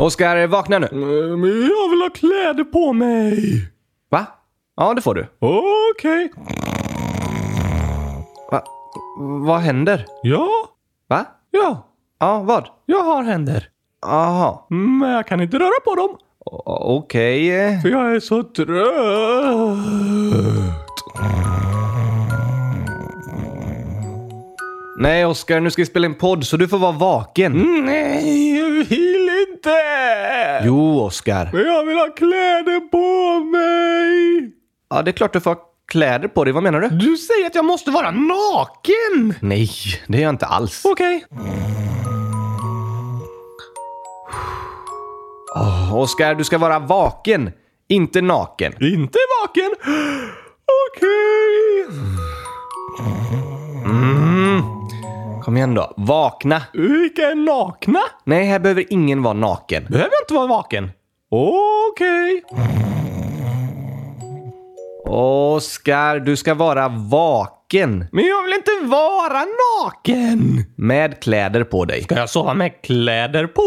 Oskar, vakna nu. Eh, Men jag vill ha kläder på mig. Va? Ja, det får du. Okej. Va? Vad händer? Ja, Va? ja. Ja, vad? Jag har händer. Aha. Men jag kan inte röra på dem. O- Okej. eh. För jag är så trött. Nej, Oskar, nu ska vi spela in podd så du får vara vaken. Nej, jag vill inte. Jo, Oskar. Men jag vill ha kläder på mig. Ja, det är klart du får ha kläder på dig. Vad menar du? Du säger att jag måste vara naken. Nej, det är jag inte alls. Okej. Oh, Oskar, du ska vara vaken, inte naken. Inte vaken. Okej. Kom igen då. Vakna. Vilka är nakna? Nej, här behöver ingen vara naken. Behöver jag inte vara vaken? Okej. Oskar, du ska vara vaken. Men jag vill inte vara naken! Med kläder på dig. Ska jag sova med kläder på?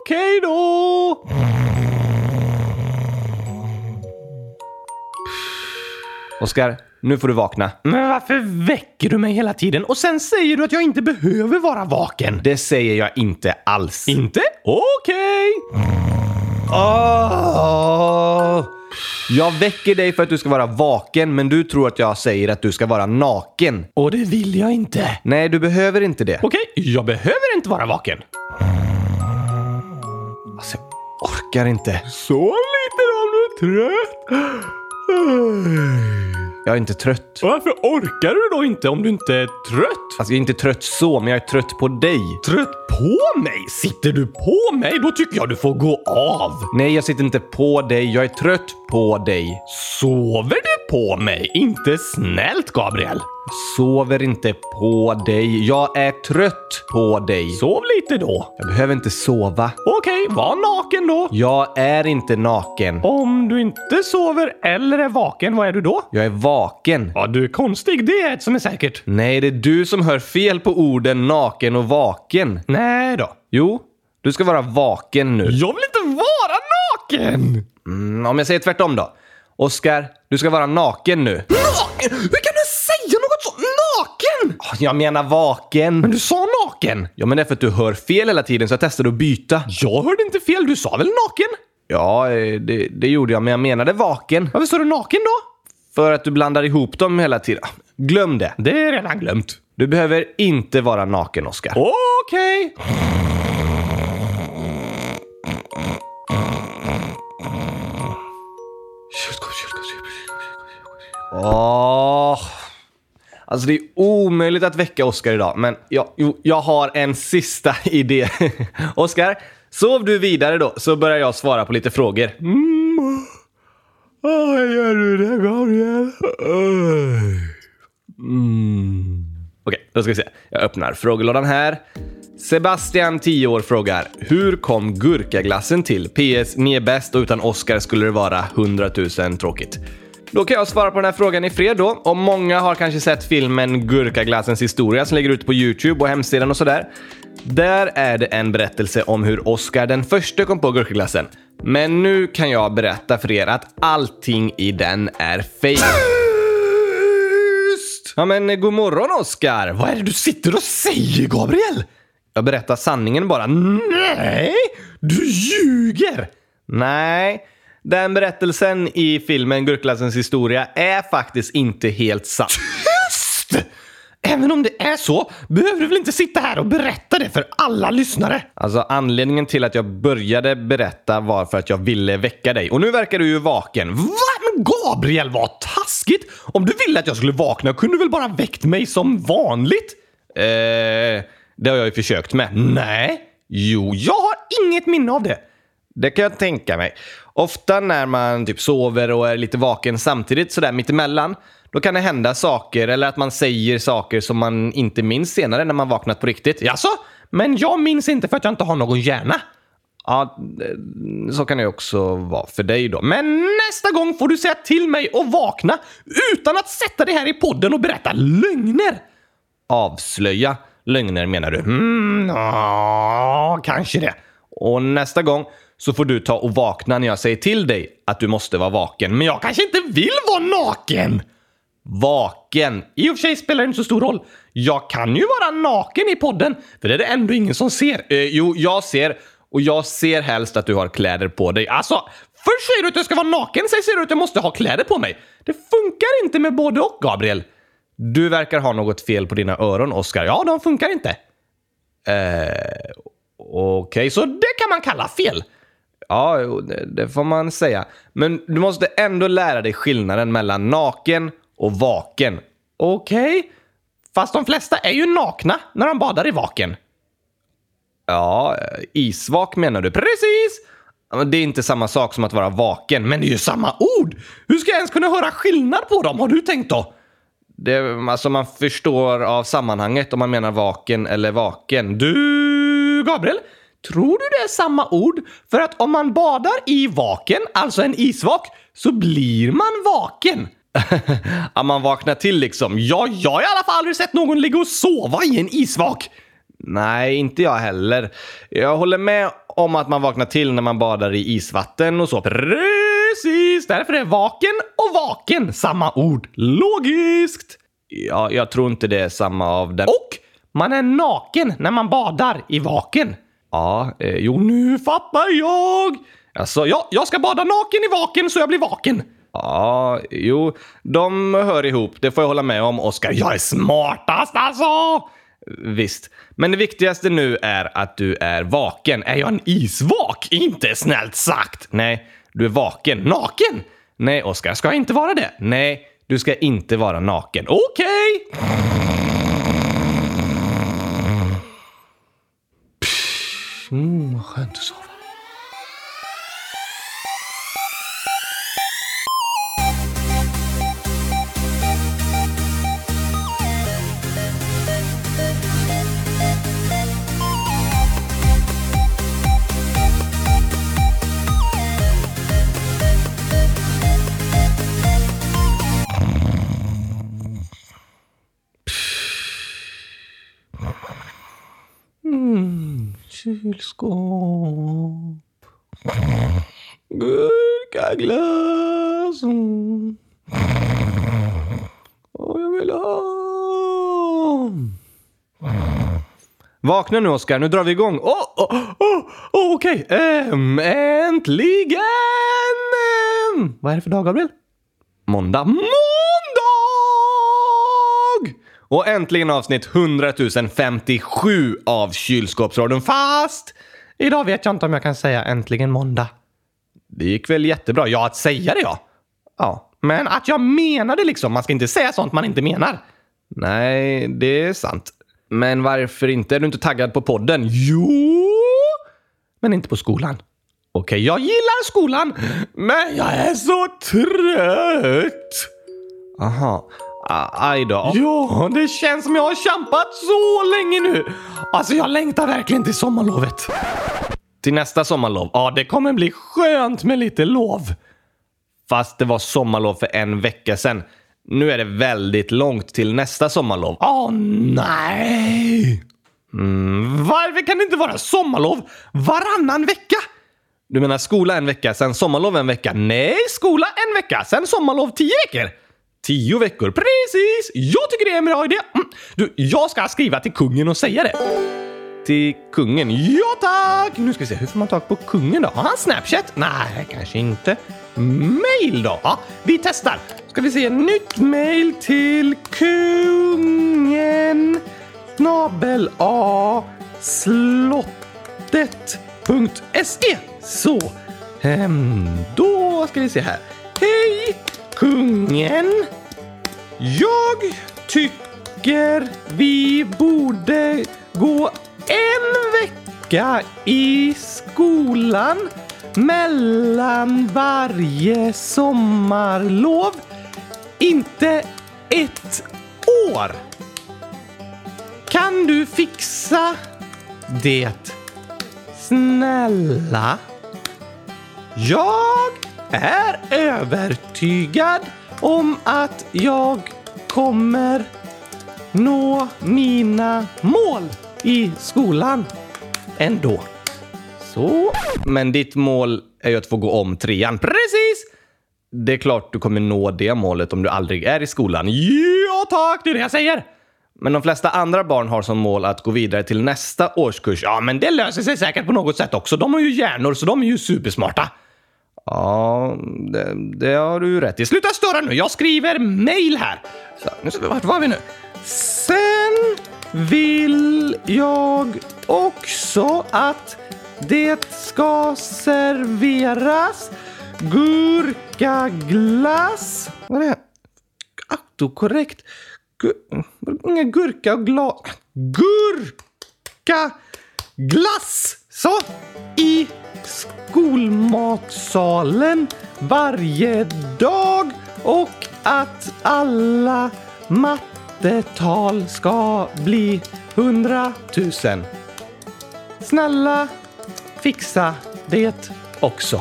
Okej då! Oskar, nu får du vakna. Men varför väcker du mig hela tiden och sen säger du att jag inte behöver vara vaken? Det säger jag inte alls. Inte? Okej! Ah. Ah. Åh! Jag väcker dig för att du ska vara vaken, men du tror att jag säger att du ska vara naken. Och det vill jag inte. Nej, du behöver inte det. Okej, jag behöver inte vara vaken. Alltså, jag orkar inte. Så lite om du är trött. Jag är inte trött. Varför orkar du då inte om du inte är trött? Alltså, jag är inte trött så, men jag är trött på dig. Trött på mig? Sitter du på mig? Då tycker jag du får gå av. Nej, jag sitter inte på dig. Jag är trött på dig. Sover du på mig? Inte snällt, Gabriel. Sover inte på dig. Jag är trött på dig. Sov lite då. Jag behöver inte sova. Okej, var naken då. Jag är inte naken. Om du inte sover eller är vaken, vad är du då? Jag är vaken. Ja, du är konstig. Det är ett som är säkert. Nej, det är du som hör fel på orden naken och vaken. Nej då. Jo, du ska vara vaken nu. Jag vill inte vara naken! Mm, om jag säger tvärtom då. Oskar, du ska vara naken nu. Naken? Hur kan du säga något så? Naken? Ah, Jag menar vaken. Men du sa naken. Ja, men det är för att du hör fel hela tiden så jag testade att byta. Jag hörde inte fel. Du sa väl naken? Ja, eh, det, det gjorde jag, men jag menade vaken. Varför sa du naken då? För att du blandar ihop dem hela tiden. Ah, Glöm det. Det är redan glömt. Du behöver inte vara naken, Oskar. Okej. Åh. Alltså det är omöjligt att väcka Oskar idag, men jag, jo, jag har en sista idé. Oskar, sov du vidare då så börjar jag svara på lite frågor. Åh, gör du det Gabriel? Okej, då ska vi se. Jag öppnar frågelådan här. Sebastian, 10 år, frågar Hur kom gurkaglassen till? PS, ni är bäst och utan Oscar skulle det vara 100 000 tråkigt. Då kan jag svara på den här frågan i fred då. Och många har kanske sett filmen Gurkaglassens historia som ligger ute på YouTube och hemsidan och sådär. Där är det en berättelse om hur Oscar den första kom på gurkaglassen. Men nu kan jag berätta för er att allting i den är fejk. Ja men eh, god morgon Oskar! Vad är det du sitter och säger Gabriel? Jag berättar sanningen bara. Nej! Du ljuger! Nej, den berättelsen i filmen Gurkglassens historia är faktiskt inte helt sann. Tyst! Även om det är så behöver du väl inte sitta här och berätta det för alla lyssnare? Alltså anledningen till att jag började berätta var för att jag ville väcka dig. Och nu verkar du ju vaken. Va? Men Gabriel, vad taskigt! Om du ville att jag skulle vakna kunde du väl bara väckt mig som vanligt? Eh, det har jag ju försökt med. Nej. Jo, jag har inget minne av det. Det kan jag tänka mig. Ofta när man typ sover och är lite vaken samtidigt sådär mittemellan, då kan det hända saker eller att man säger saker som man inte minns senare när man vaknat på riktigt. Jaså? Men jag minns inte för att jag inte har någon hjärna. Ja, eh, så kan det ju också vara för dig då. Men Men nästa gång får du säga till mig att vakna utan att sätta dig här i podden och berätta lögner. avslöja lögner menar du? Mm. Mm, ja, kanske det. Och nästa gång så får du ta och vakna när jag säger till dig att du måste vara vaken. Men jag kanske inte vill vara naken! Vaken! I och för sig spelar det inte så stor roll. Jag kan ju vara naken i podden, för det är det ändå ingen som ser. Eh, jo, jag ser. Och jag ser helst att du har kläder på dig. Alltså, först säger du att jag ska vara naken, sen säger du att jag måste ha kläder på mig. Det funkar inte med både och, Gabriel. Du verkar ha något fel på dina öron, Oscar. Ja, de funkar inte. Eh, Okej, så det kan man kalla fel. Ja, jo, det, det får man säga. Men du måste ändå lära dig skillnaden mellan naken och vaken. Okej, fast de flesta är ju nakna när de badar i vaken. Ja, eh, isvak menar du. Precis! Ja, men Det är inte samma sak som att vara vaken, men Men det är ju samma ord! Hur ska jag ens kunna höra skillnad på dem, har du tänkt då? det, alltså man förstår av sammanhanget om man menar vaken eller vaken. Du, Gabriel? Tror du det är samma ord? För att om man badar i vaken, alltså en isvak, så blir man vaken. ja, man vaknar till liksom. Ja, jag har i alla fall aldrig sett någon ligga och sova i en isvak. Nej, inte jag heller. Jag håller med om att man vaknar till när man badar i isvatten och så. Precis, därför är vaken och vaken samma ord. Logiskt! Ja, jag tror inte det är samma av den. Och man är naken när man badar i vaken. Ja, eh, jo nu. Nu fattar jag! Alltså, ja, jag ska bada naken i vaken så jag blir vaken. Ja, jo. De hör ihop, det får jag hålla med om, Oskar. Jag är smartast alltså! Visst. Men det viktigaste nu är att du är vaken. Är jag en Isvak, inte snällt sagt. Nej, du är vaken. Naken? Nej, Oskar. Ska jag inte vara det? Nej, du ska inte vara naken. Okej! Okej! mm, Skönt att sova. Kylskåp. Gurkaglass. Mm. Och jag vill ha... Vakna nu, Oskar. Nu drar vi igång. Åh, Åh, åh, åh, åh, Okej, Ehm, äntligen! Ehm, Vad är det för dag, Gabriel? Måndag. Måndag! Och äntligen avsnitt 100 057 av Kylskåpsradion. Fast Idag vet jag inte om jag kan säga äntligen måndag. det gick väl jättebra. Ja, att säga det ja. Ja, men att jag menade liksom. Man ska inte säga sånt man inte menar. Nej, det är sant. Men varför inte? Är du inte taggad på podden? Jo, Oh, men inte på skolan. Okej, Jag gillar skolan, men jag är så trött. Aha. A- Aj då. Ja, det känns som jag har kämpat så länge nu. Alltså, jag längtar verkligen till sommarlovet. Till nästa sommarlov. Ja, det kommer bli skönt med lite lov. Fast det var sommarlov för en vecka sedan. Nu är det väldigt långt till nästa sommarlov. Åh nej! Mm, varför kan det inte vara sommarlov varannan vecka? Du menar skola en vecka, sen sommarlov en vecka? Nej, skola en vecka, sen sommarlov tio veckor. Tio veckor. Precis! Jag tycker det är en bra idé. Mm. Du, jag ska skriva till kungen och säga det. Till kungen. Ja tack! Nu ska vi se, hur får man tag på kungen då? Har han Snapchat? Nej, kanske inte. Mail då? Ja, vi testar. Ska vi se, nytt mail till kungen. Snabel A slottet.se. E. Så, ehm, då ska vi se här. Hej kungen! Jag tycker vi borde gå en vecka i skolan mellan varje sommarlov. Inte ett år. Kan du fixa det? Snälla? Jag är övertygad om att jag kommer nå mina mål i skolan ändå. Så. Men ditt mål är ju att få gå om trean. Precis! Det är klart du kommer nå det målet om du aldrig är i skolan. Ja tack, det är det jag säger! Men de flesta andra barn har som mål att gå vidare till nästa årskurs. Ja, men det löser sig säkert på något sätt också. De har ju hjärnor, så de är ju supersmarta. Ja, det, det har du ju rätt i. Sluta störa nu! Jag skriver mail här. Så, nu ska vi, vart var vi nu? Sen vill jag också att det ska serveras gurkaglass. Vad är det? Autokorrekt. Gu- gurka och glas... Gurka! Glass! Så! I skolmatsalen varje dag och att alla mattetal ska bli hundratusen. Snälla, fixa det också.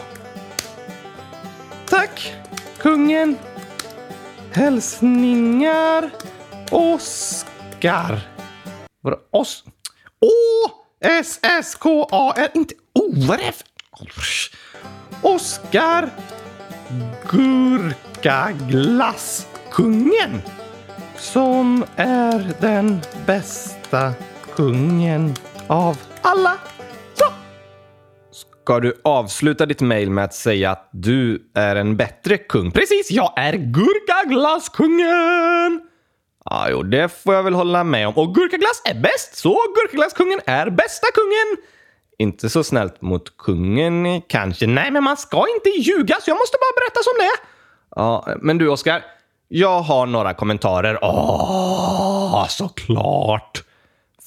Tack, kungen. Hälsningar Oskar. Vadå? Os... Å! S S K A R. Inte O. Vad är det för... Oskar Gurkaglasskungen. Som är den bästa kungen av alla. Så! Ska du avsluta ditt mejl med att säga att du är en bättre kung? Precis, jag är Gurkaglasskungen! Ja, jo, det får jag väl hålla med om. Och gurkaglass är bäst, så gurkaglasskungen är bästa kungen! Inte så snällt mot kungen kanske. Nej, men man ska inte ljuga, så jag måste bara berätta som det är. Ja, men du Oskar, jag har några kommentarer. Åh, såklart!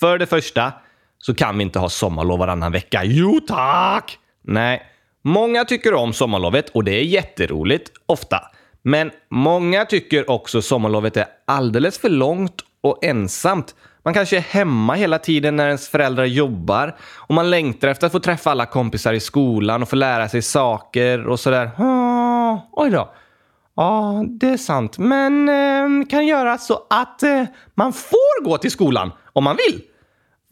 För det första så kan vi inte ha sommarlov varannan vecka. Jo tack! Nej, många tycker om sommarlovet och det är jätteroligt, ofta. Men många tycker också sommarlovet är alldeles för långt och ensamt. Man kanske är hemma hela tiden när ens föräldrar jobbar och man längtar efter att få träffa alla kompisar i skolan och få lära sig saker och sådär. Ah, oj då. Ja, ah, det är sant. Men eh, kan göra så att eh, man får gå till skolan om man vill.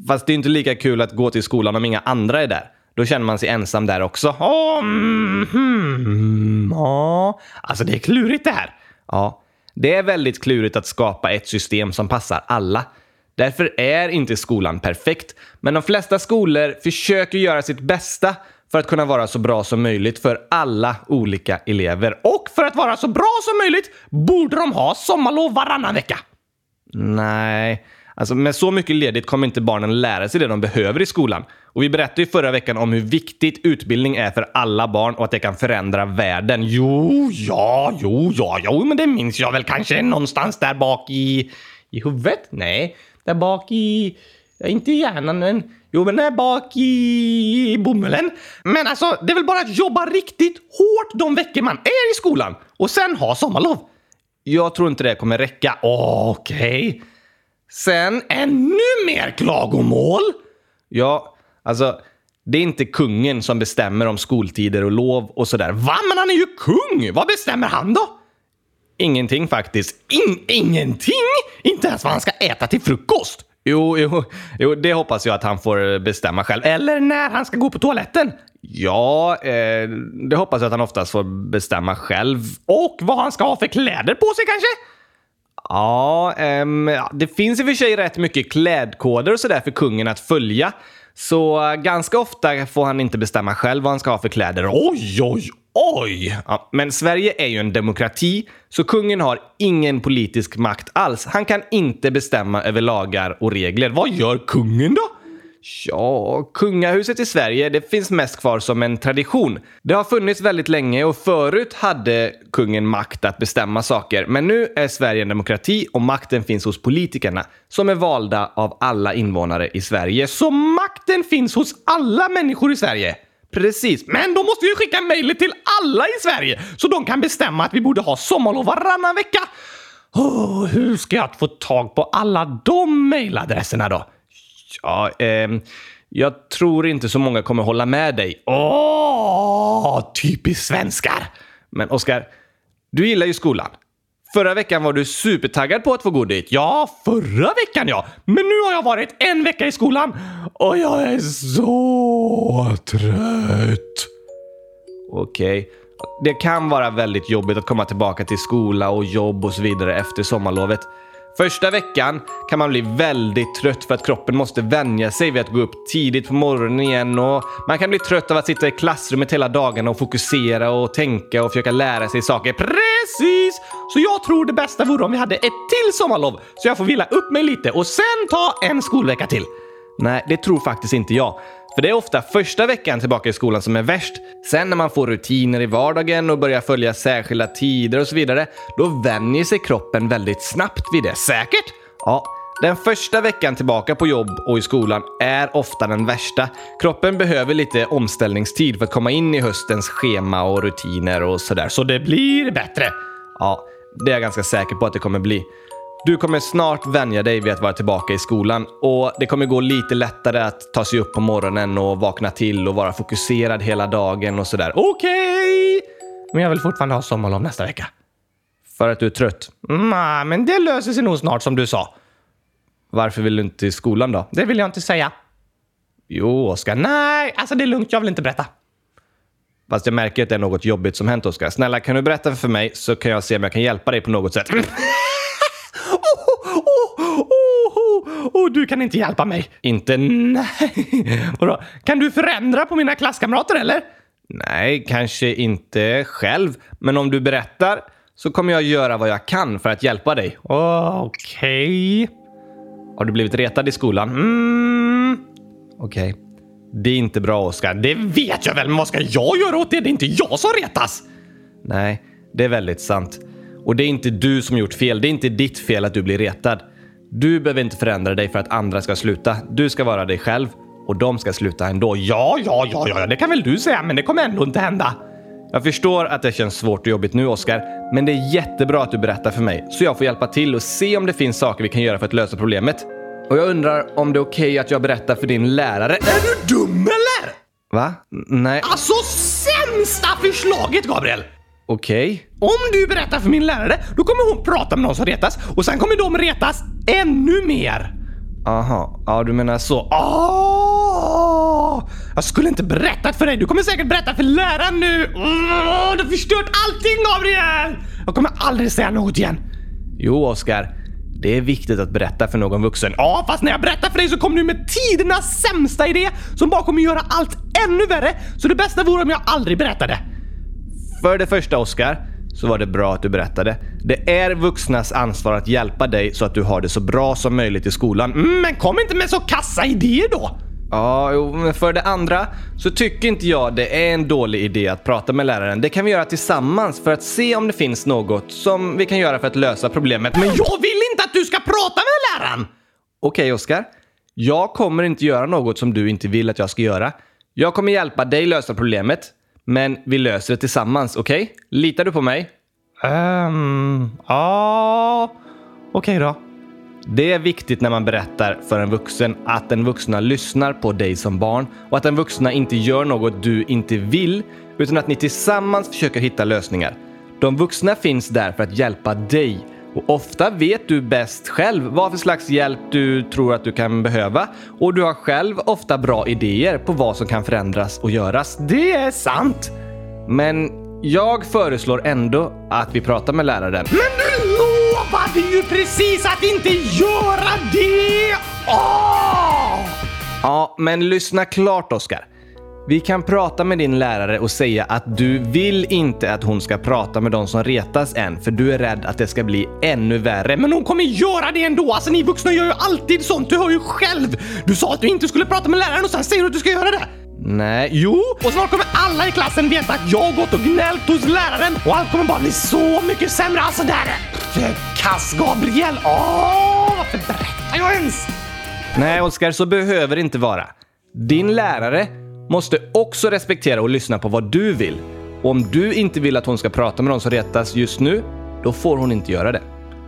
Fast det är inte lika kul att gå till skolan om inga andra är där. Då känner man sig ensam där också. Ah. Oh, mm, mm, ja, alltså det är klurigt det här. Ja, det är väldigt klurigt att skapa ett system som passar alla. Därför är inte skolan perfekt, men de flesta skolor försöker göra sitt bästa för att kunna vara så bra som möjligt för alla olika elever. Och för att vara så bra som möjligt borde de ha sommarlov varannan vecka. Nej, Alltså, med så mycket ledigt kommer inte barnen lära sig det de behöver i skolan. Och vi berättade ju förra veckan om hur viktigt utbildning är för alla barn och att det kan förändra världen. Jo, ja, jo, ja, jo, men det minns jag väl kanske någonstans där bak i... I huvudet? Nej, där bak i... Inte i hjärnan, men... Jo, men där bak i bomullen. Men alltså, det är väl bara att jobba riktigt hårt de veckor man är i skolan och sen ha sommarlov. Jag tror inte det kommer räcka. Okej. Okay. Sen ännu mer klagomål! Ja, alltså det är inte kungen som bestämmer om skoltider och lov och sådär. Va? Men han är ju kung! Vad bestämmer han då? Ingenting faktiskt. In ingenting? Inte ens vad han ska äta till frukost? Jo, jo, jo, det hoppas jag att han får bestämma själv. Eller när han ska gå på toaletten. Ja, eh, det hoppas jag att han oftast får bestämma själv. Och vad han ska ha för kläder på sig kanske? Ja, um, det finns i och för sig rätt mycket klädkoder och sådär för kungen att följa. Så eh, ganska ofta får han inte bestämma själv vad han ska ha för kläder. Oj, oj, oj! Ja, men Sverige är ju en demokrati, så kungen har ingen politisk makt alls. Han kan inte bestämma över lagar och regler. Vad gör kungen då? Ja, kungahuset i Sverige det finns mest kvar som en tradition. Det har funnits väldigt länge och förut hade kungen makt att bestämma saker. Men nu är Sverige en demokrati och makten finns hos politikerna som är valda av alla invånare i Sverige. Så makten finns hos alla människor i Sverige? Precis. Men då måste vi skicka mejlet till alla i Sverige så de kan bestämma att vi borde ha sommarlov varannan vecka. Oh, hur ska jag få tag på alla de mejladresserna då? Ja, eh, jag tror inte så många kommer hålla med dig. Åh, oh, typiskt svenskar! Men Oskar, du gillar ju skolan. Förra veckan var du supertaggad på att få gå dit. Ja, förra veckan ja. Men nu har jag varit en vecka i skolan och jag är så trött. Okej. Det kan vara väldigt jobbigt att komma tillbaka till skola och jobb och så vidare efter sommarlovet. Första veckan kan man bli väldigt trött för att kroppen måste vänja sig vid att gå upp tidigt på morgonen igen och man kan bli trött av att sitta i klassrummet hela dagarna och fokusera och tänka och försöka lära sig saker. Precis! Så jag tror det bästa vore om vi hade ett till sommarlov så jag får vila upp mig lite och sen ta en skolvecka till. Nej, det tror faktiskt inte jag. För det är ofta första veckan tillbaka i skolan som är värst. Sen när man får rutiner i vardagen och börjar följa särskilda tider och så vidare, då vänjer sig kroppen väldigt snabbt vid det. Säkert? Ja, den första veckan tillbaka på jobb och i skolan är ofta den värsta. Kroppen behöver lite omställningstid för att komma in i höstens schema och rutiner och sådär. Så det blir bättre. Ja, det är jag ganska säker på att det kommer bli. Du kommer snart vänja dig vid att vara tillbaka i skolan och det kommer gå lite lättare att ta sig upp på morgonen och vakna till och vara fokuserad hela dagen och sådär. Okej! Men jag vill fortfarande ha sommarlov nästa vecka. För att du är trött. Nej, men det löser sig nog snart som du sa. Varför vill du inte till skolan då? Det vill jag inte säga. Jo, Oskar. Nej, alltså det är lugnt. Jag vill inte berätta. Fast jag märker att det är något jobbigt som hänt, Oskar. Snälla, kan du berätta för mig så kan jag se om jag kan hjälpa dig på något Oh, sätt. Åh, åh, åh, åh, åh, oh, du kan inte hjälpa mig. inte Nej. Vadå? Kan du förändra på mina klasskamrater eller? Nej, kanske inte själv. Men om du berättar så kommer jag göra vad jag kan för att hjälpa dig. Okej. Har du blivit retad i skolan? Mm, Okej. Det är inte bra, Oskar. det vet jag väl, men vad ska jag göra åt det? Det är inte jag som retas. Nej, det är väldigt sant. Och det är inte du som gjort fel. Det är inte ditt fel att du blir retad. Du behöver inte förändra dig för att andra ska sluta. Du ska vara dig själv och de ska sluta ändå. Ja, ja, ja, ja, ja, det kan väl du säga, men det kommer ändå inte hända. Jag förstår att det känns svårt och jobbigt nu, Oskar, men det är jättebra att du berättar för mig så jag får hjälpa till och se om det finns saker vi kan göra för att lösa problemet. Och jag undrar om det är okej att jag berättar för din lärare... Är du dum eller? Va? N- Nej, Alltså sämsta förslaget, Gabriel! okej. Om du berättar för min lärare, då kommer hon prata med någon som retas och sen kommer de retas ännu mer. Aha, ja du menar så. Åh! Ah! Jag skulle inte berättat för dig. Du kommer säkert berätta för läraren nu. Åh, du har förstört allting, Gabriel! Jag kommer aldrig säga något igen. Jo, Oskar. Det är viktigt att berätta för någon vuxen. Ja, fast när jag berättar för dig så kommer du med tidernas sämsta idé som bara kommer göra allt ännu värre. Så det bästa vore om jag aldrig berättade. För det första, Oskar, så var det bra att du berättade. Det är vuxnas ansvar att hjälpa dig så att du har det så bra som möjligt i skolan. Mm. Mm, Men kom inte med så kassa idéer då. Ja, jo, men för det andra så tycker inte jag det är en dålig idé att prata med läraren. Det kan vi göra tillsammans för att se om det finns något som vi kan göra för att lösa problemet. Men Men jag vill inte att du ska prata med läraren! Okej, Oskar. Jag kommer inte göra något som du inte vill att jag ska göra. Jag kommer hjälpa dig lösa problemet, men vi löser det tillsammans, okej? Litar du på mig? Ehm, ja... Okej då. Det är viktigt när man berättar för en vuxen att den vuxna lyssnar på dig som barn och att den vuxna inte gör något du inte vill, utan att ni tillsammans försöker hitta lösningar. De vuxna finns där för att hjälpa dig och ofta vet du bäst själv vad för slags hjälp du tror att du kan behöva och du har själv ofta bra idéer på vad som kan förändras och göras. Det är sant. Men jag föreslår ändå att vi pratar med läraren. Men du lovade ju precis att inte göra det! Åh! Ja, men lyssna klart Oskar. Vi kan prata med din lärare och säga att du vill inte att hon ska prata med de som retas än för du är rädd att det ska bli ännu värre. Men Men hon kommer göra det ändå! Alltså ni vuxna gör ju alltid sånt, du hör ju själv! Du sa att du inte skulle prata med läraren och sen säger du att du ska göra det! nej, jo. Jo, och snart kommer alla i klassen veta att jag har gått och gnällt hos läraren och allt kommer bara bli så mycket sämre. Alltså där är det kass Gabriel! Åh, varför berättar jag ens? Nej Oskar, så behöver det inte vara. Din lärare måste också respektera och lyssna på vad du vill. Och om du inte vill att hon ska prata med de som retas just nu, då får hon inte göra det.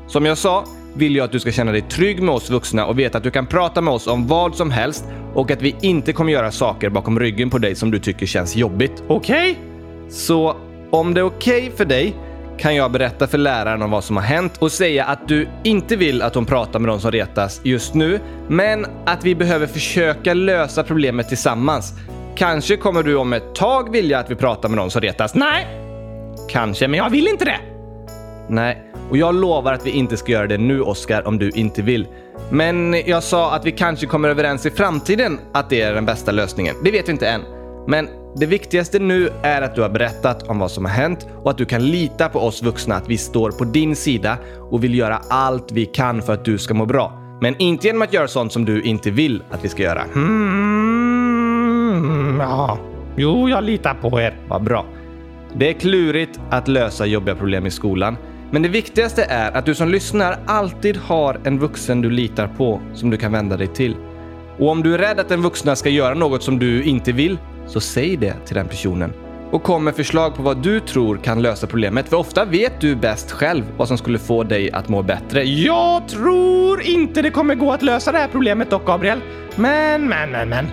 Som jag sa vill jag att du ska känna dig trygg med oss vuxna och veta att du kan prata med oss om vad som helst och att vi inte kommer göra saker bakom ryggen på dig som du tycker känns jobbigt. Okej? Så om det är okej för dig kan jag berätta för läraren om vad som har hänt och säga att du inte vill att hon pratar med de som retas just nu, men att vi behöver försöka lösa problemet tillsammans. Kanske kommer du om ett tag vilja att vi pratar med de som retas. Nej, Kanske, men men jag vill inte det. Nej, och jag lovar att vi inte ska göra det nu, Oscar, om du inte vill. Men jag sa att vi kanske kommer överens i framtiden att det är den bästa lösningen. Det vet vi inte än. Men det viktigaste nu är att du har berättat om vad som har hänt och att du kan lita på oss vuxna att vi står på din sida och vill göra allt vi kan för att du ska må bra. Men inte genom att göra sånt som du inte vill att vi ska göra. Mm, ja. Jo, jag litar på er. Vad bra. Det är klurigt att lösa jobbiga problem i skolan. Men det viktigaste är att du som lyssnar alltid har en vuxen du litar på som du kan vända dig till. Och om du är rädd att den vuxna ska göra något som du inte vill, så säg det till den personen. Och kom med förslag på vad du tror kan lösa problemet, för ofta vet du bäst själv vad som skulle få dig att må bättre. Jag tror inte det kommer gå att lösa det här problemet dock, Gabriel. Men, men, men, men.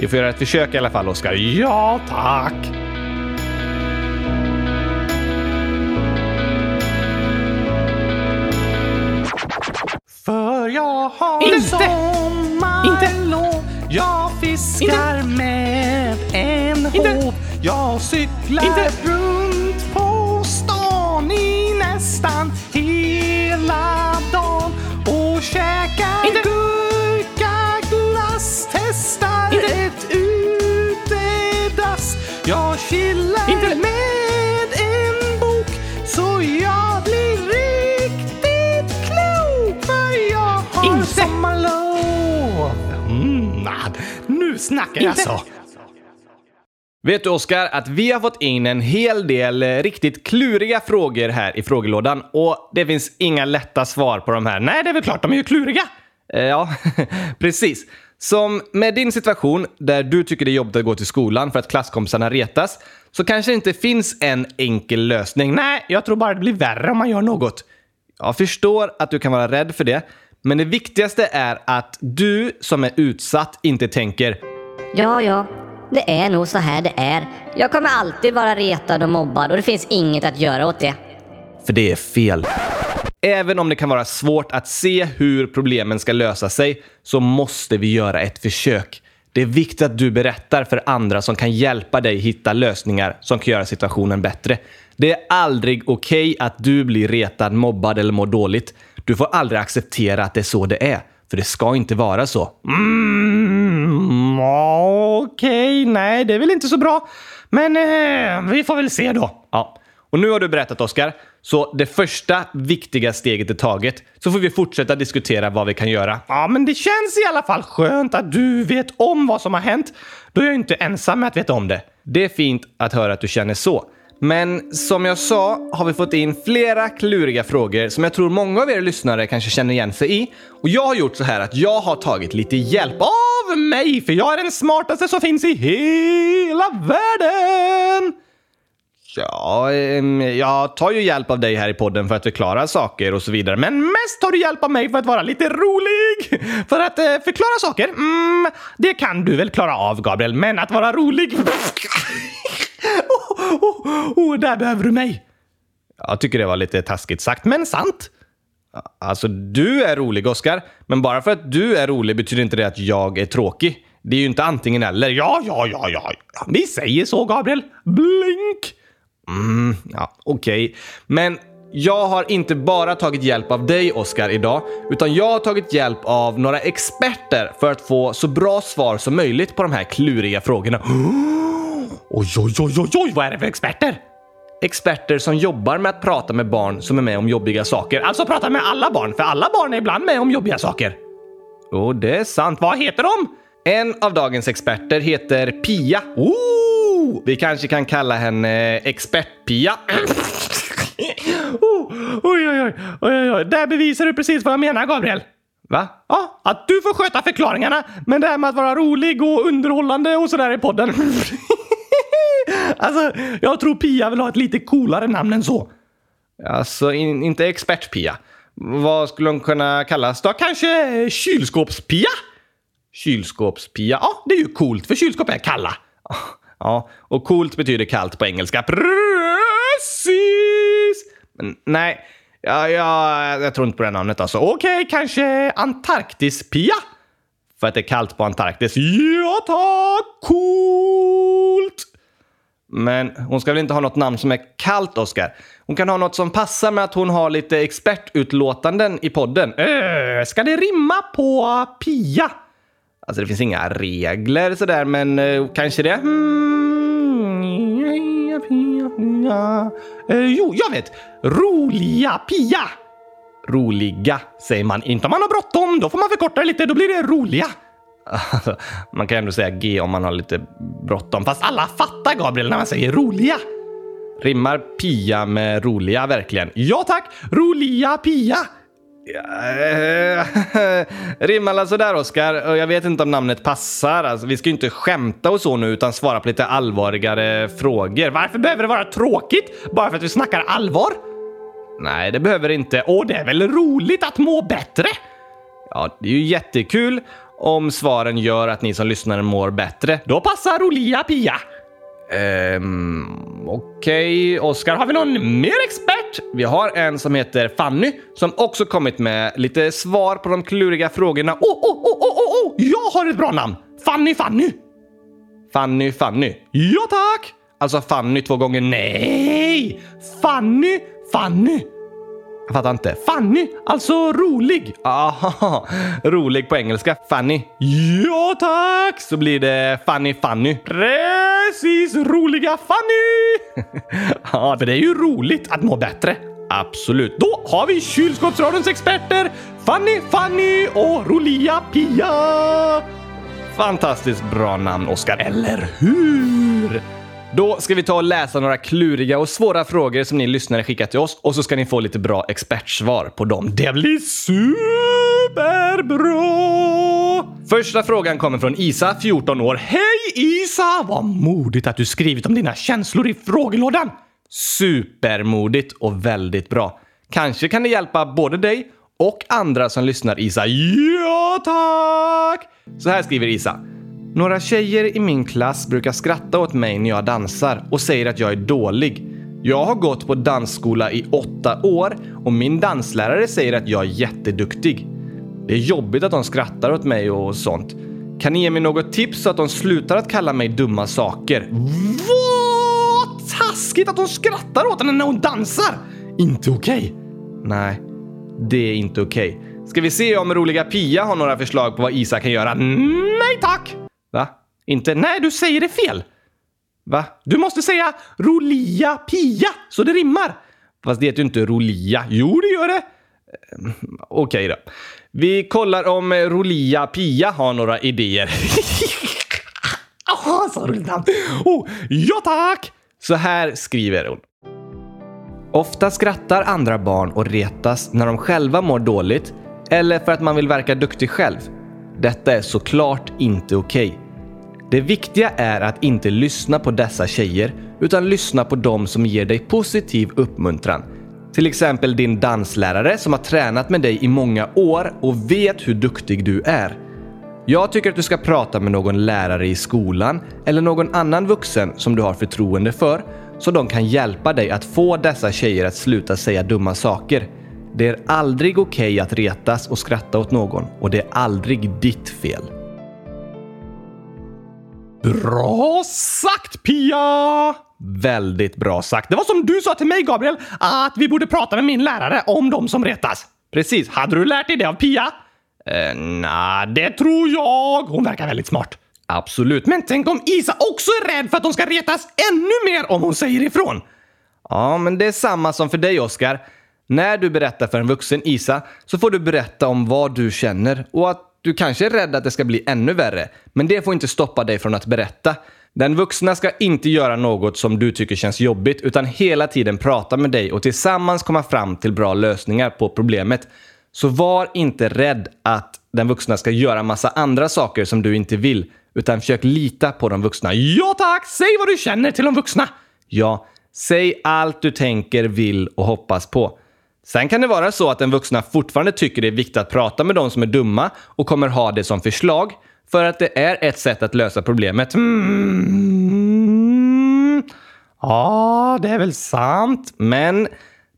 Vi får göra ett försök i alla fall, Oskar. Ja, tack. För jag har Inte. sommarlov. Jag fiskar med en Inte. hov. Jag cyklar Inte. runt på stan i nästan hela dagen och käkar Inte. gurka glass. Testar Inte. ett utedass. Jag chillar Inte. med en bok så jag blir riktigt klok för jag har Inte. sommarlov. Mm, nah, nu snackar jag Inte. så. Vet du Oskar att vi har fått in en hel del eh, riktigt kluriga frågor här i frågelådan och det finns inga lätta svar på de här. Nej, det är väl klart, de är ju kluriga. Eh, Ja, precis. Som med din situation där du tycker det är jobbigt att gå till skolan för att klasskompisarna retas så kanske det inte finns en enkel lösning. Nej, jag tror bara det blir värre om man gör något. Jag förstår att du kan vara rädd för det, men det viktigaste är att du som är utsatt inte tänker Ja, ja. Det är nog så här det är. Jag kommer alltid vara retad och mobbad och det finns inget att göra åt det. För det är fel. Även om det kan vara svårt att se hur problemen ska lösa sig så måste vi göra ett försök. Det är viktigt att du berättar för andra som kan hjälpa dig hitta lösningar som kan göra situationen bättre. Det är aldrig okej att du blir retad, mobbad eller mår dåligt. Du får aldrig acceptera att det är så det är, för det ska inte vara så. Mm, ja, Okej, nej det är väl inte så bra. Men eh, vi får väl se då. Ja. Och nu har du berättat, Oskar. Så det första viktiga steget är taget. Så får vi fortsätta diskutera vad vi kan göra. Ja, men det känns i alla fall skönt att du vet om vad som har hänt. Då är jag inte ensam med att veta om det. Det är fint att höra att du känner så. Men som jag sa har vi fått in flera kluriga frågor som jag tror många av er lyssnare kanske känner igen sig i. Och jag har gjort så här att jag har tagit lite hjälp av mig för jag är den smartaste som finns i hela världen! Ja, ehm, jag tar ju hjälp av dig här i podden för att förklara saker och så vidare. Men mest tar du hjälp av mig för att vara lite rolig! För att eh, förklara saker? Mm, det kan du väl klara av, Gabriel. Men att vara rolig... oh, oh, oh, där behöver du mig. Jag tycker det var lite taskigt sagt, men sant. Alltså, du är rolig, Oskar. Men bara för att du är rolig betyder inte det att jag är tråkig. Det är ju inte antingen eller. Ja, ja, ja, ja. ja. Vi säger så, Gabriel. Blink! Mm, ja, okej. Men jag har inte bara tagit hjälp av dig, Oskar, idag. Utan jag har tagit hjälp av några experter för att få så bra svar som möjligt på de här kluriga frågorna. Oj, oj, oj, oj, oj, vad är det för experter? Experter som jobbar med att prata med barn som är med om jobbiga saker. Alltså, Alltså prata med alla barn, för alla barn är ibland med om jobbiga saker. oh, det är sant. Vad heter de? En av dagens experter heter Pia. Oh! Vi kanske kan kalla henne eh, Expert-Pia. oh oj, oj, oj, oj, oj, oj. Där bevisar du precis vad jag menar, Gabriel. Va? Ja, att du får sköta förklaringarna, men det här med att vara rolig och underhållande och sådär i podden. alltså, jag tror Pia vill ha ett lite coolare namn än så. Alltså, in, inte Expert-Pia. Vad skulle hon kunna kallas då? Kanske eh, Kylskåpspia? Kylskåps-Pia. Ja, Ja, det är ju coolt, för kylskåp är kalla. Ja, och coolt betyder kallt på engelska. Precis! Men, nej, ja, jag, jag tror inte på det namnet alltså. Okej, kanske Antarktis-Pia? För att det är kallt på Antarktis. Ja tack! Coolt! Men hon ska väl inte ha något namn som är kallt, Oscar? Hon kan ha något som passar med att hon har lite expertutlåtanden i podden. Öh, ska det rimma på Pia? Alltså det finns inga regler sådär, men eh, kanske det. Mm, ja, Pia, Pia. Eh, jo, jag vet! Roliga Pia! Roliga säger man inte om man har bråttom. Då får man förkorta det lite, då blir det roliga. Alltså, man kan ändå säga G om man har lite bråttom. Fast alla fattar Gabriel när man säger roliga. Rimmar Pia med roliga verkligen? Ja tack! Roliga Pia! Eh, Rimmar alla sådär Oskar? Jag vet inte om namnet passar. Alltså, vi ska ju inte skämta och så nu utan svara på lite allvarligare frågor. Varför behöver det vara tråkigt bara för att vi snackar allvar? Nej, det behöver det inte. Och det är väl roligt att må bättre? Ja, det är ju jättekul om svaren gör att ni som lyssnar mår bättre. Då passar Olia Pia. Ehm, okej. Oskar, har vi någon mer expert? Vi har en som heter Fanny som också kommit med lite svar på de kluriga frågorna. Åh, åh, åh, åh, åh, åh! Jag har ett bra namn! Fanny Fanny! Fanny Fanny. Ja tack! Alltså Fanny två gånger. Nej! Fanny Fanny! Jag fattar inte. Fanny, alltså rolig. Aha, Ah, rolig på engelska. Fanny. Ja tack! Så blir det Fanny Fanny. Precis, roliga Fanny! ja, för det är ju roligt att må bättre. Absolut. Då har vi kylskåpsradions experter Fanny Fanny och roliga Pia. Fantastiskt bra namn, Oskar. Eller hur? Då ska vi ta och läsa några kluriga och svåra frågor som ni lyssnare skickat till oss och så ska ni få lite bra expertsvar på dem. Det blir superbra! Första frågan kommer från Isa, 14 år. Hej Isa! Vad modigt att du skrivit om dina känslor i frågelådan! Supermodigt och väldigt bra. Kanske kan det hjälpa både dig och andra som lyssnar Isa. Ja, tack! Så här skriver Isa. Några tjejer i min klass brukar skratta åt mig när jag dansar och säger att jag är dålig. Jag har gått på dansskola i åtta år och min danslärare säger att jag är jätteduktig. Det är jobbigt att de skrattar åt mig och sånt. Kan ni ge mig något tips så att de slutar att kalla mig dumma saker? Vad taskigt att de skrattar åt henne när hon dansar! Inte okej. Nej, det är inte okej. Ska vi se om roliga Pia har några förslag på vad Isa kan göra? Nej tack! Va? Inte? Nej, du säger det fel! Va? Du måste säga roliga Pia så det rimmar. Fast det heter ju inte rolia. Jo, det gör det. Ehm, Okej då. Vi kollar om rolia Pia har några idéer. Aha, så roligt namn! Oh, ja tack! Så här skriver hon. Ofta skrattar andra barn och retas när de själva mår dåligt eller för att man vill verka duktig själv. Detta är såklart inte okej. Det viktiga är att inte lyssna på dessa tjejer utan lyssna på dem som ger dig positiv uppmuntran. Till exempel din danslärare som har tränat med dig i många år och vet hur duktig du är. Jag tycker att du ska prata med någon lärare i skolan eller någon annan vuxen som du har förtroende för så de kan hjälpa dig att få dessa tjejer att sluta säga dumma saker. Det är aldrig okej att retas och skratta åt någon och det är aldrig ditt fel. Bra sagt Pia! Väldigt bra sagt. Det var som du sa till mig Gabriel, att vi borde prata med min lärare om de som retas. Precis. Hade du lärt dig det av Pia? Eh, Nej, det tror jag. Hon verkar väldigt smart. Absolut. Men tänk om Isa också är rädd för att de ska retas ännu mer om hon säger ifrån. Ja, men det är samma som för dig, Oskar. När du berättar för en vuxen Isa så får du berätta om vad du känner och att du kanske är rädd att det ska bli ännu värre. Men det får inte stoppa dig från att berätta. Den vuxna ska inte göra något som du tycker känns jobbigt utan hela tiden prata med dig och tillsammans komma fram till bra lösningar på problemet. Så var inte rädd att den vuxna ska göra massa andra saker som du inte vill, utan försök lita på de vuxna. Ja tack! Säg vad du känner till de vuxna! Ja, säg allt du tänker, vill och hoppas på. Sen kan det vara så att den vuxna fortfarande tycker det är viktigt att prata med de som är dumma och kommer ha det som förslag, för att det är ett sätt att lösa problemet. Mm. Ja, det är väl sant. Men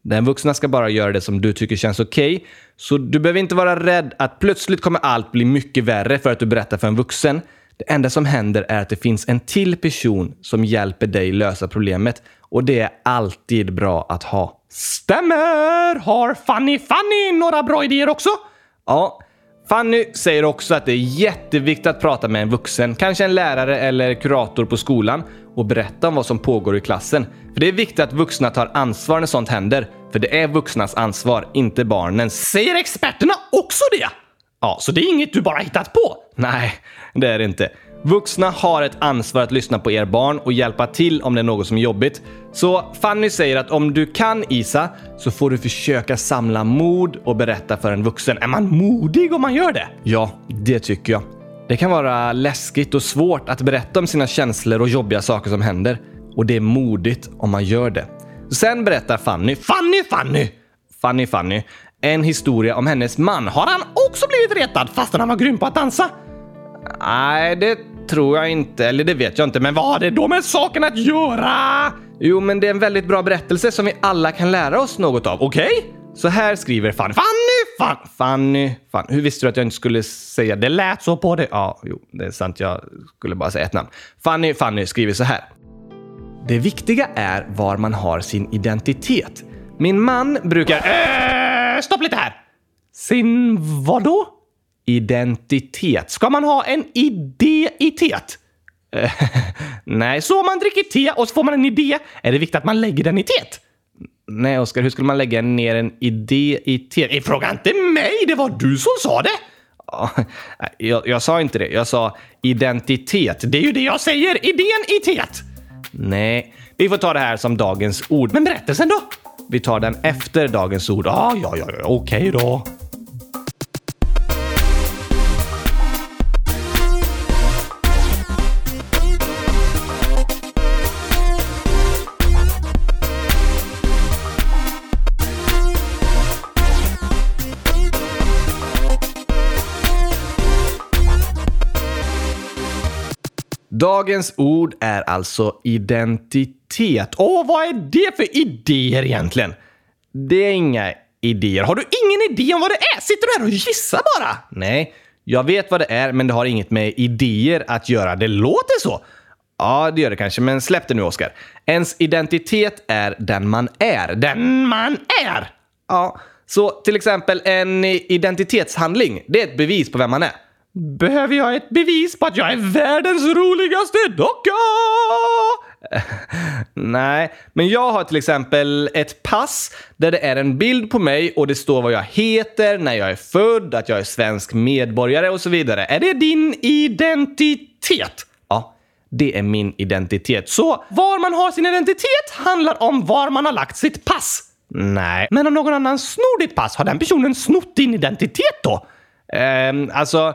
Den vuxna ska bara göra det som du tycker känns okej. Så du behöver inte vara rädd att plötsligt kommer allt bli mycket värre för att du berättar för en vuxen. Det enda som händer är att det finns en till person som hjälper dig lösa problemet och det är alltid bra att ha. Stämmer! Har Fanny Fanny några bra idéer också? Ja, Fanny säger också att det är jätteviktigt att prata med en vuxen, kanske en lärare eller kurator på skolan och berätta om vad som pågår i klassen. För det är viktigt att vuxna tar ansvar när sånt händer. För det är vuxnas ansvar, inte barnens. Säger experterna också det? Ja, så det är inget du bara hittat på? Nej, det är det inte. Vuxna har ett ansvar att lyssna på er barn och hjälpa till om det är något som är jobbigt. Så Fanny säger att om du kan Isa så får du försöka samla mod och berätta för en vuxen. Är man modig om man gör det? Ja, det tycker jag. Det kan vara läskigt och svårt att berätta om sina känslor och jobbiga saker som händer. Och det är modigt om man gör det. Sen berättar Fanny, Fanny Fanny! Fanny Fanny, en historia om hennes man. Har han också blivit retad fastän han var grym på att dansa? Nej, det tror jag inte. Eller det vet jag inte. Men vad har det då med saken att göra? Jo, men det är en väldigt bra berättelse som vi alla kan lära oss något av. Okej? Så här skriver Fanny. Fanny fan! Fanny, fan, hur visste du att jag inte skulle säga Det det? lät så på dig. Ja, jo, det är sant. Jag skulle bara säga ett namn. Fanny, Fanny skriver så här. Det viktiga är var man har sin identitet. Min man brukar... Eh, stopp lite här! Sin Vadå? identitet. Ska man ha en idéitet? Eh, Nej, Så om man dricker te och så får man en idé, är det viktigt att man lägger den i teet? nej Oskar, hur skulle man lägga ner en idé i te? Eh, Fråga inte mig, det var du som sa det! Ja, nej, jag, jag sa inte det. Jag sa identitet. Det är ju det jag säger, idén i teet! Nej, vi får ta det här som dagens ord. Men berättelsen då? Vi tar den efter dagens ord. Ah, Ja, ja, ja, ja, okej då. Dagens ord är alltså identitet. Och Och vad är det för idéer egentligen? det är inga idéer. Har du ingen idé om vad det är? Sitter du här och gissar bara? Nej, jag vet vad det är, men det har inget med idéer att göra. Det låter så. Ja, det gör det kanske, men släpp det nu, Oskar. Ens identitet är den man är. Den man är! Ja, så till exempel en identitetshandling, det är ett bevis på vem man är. Behöver jag ett bevis på att jag är världens roligaste docka? Nej, men jag har till exempel ett pass där det är en bild på mig och det står vad jag heter, när jag är född, att jag är svensk medborgare och så vidare. Är det din identitet? Ja, det är min identitet. Så Var man har sin identitet handlar om var man har lagt sitt pass. nej, Men om någon annan snor ditt pass, har den personen snott din identitet då? Ehm, alltså,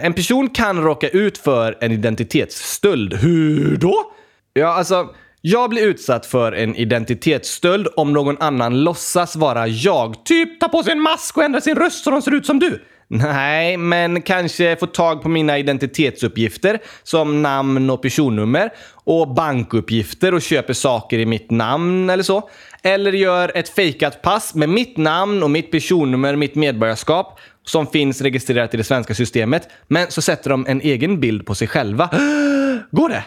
en person kan råka ut för en identitetsstöld. Hur då? Ja, alltså, jag blir utsatt för en identitetsstöld om någon annan låtsas vara jag. Typ Ta på sig en mask och ändra sin röst så de ser ut som du. Nej, men kanske få tag på mina identitetsuppgifter som namn och personnummer och bankuppgifter och köper saker i mitt namn eller så. Eller gör ett fejkat pass med mitt namn och mitt personnummer, mitt medborgarskap som finns registrerat i det svenska systemet. Men så sätter de en egen bild på sig själva. Går det?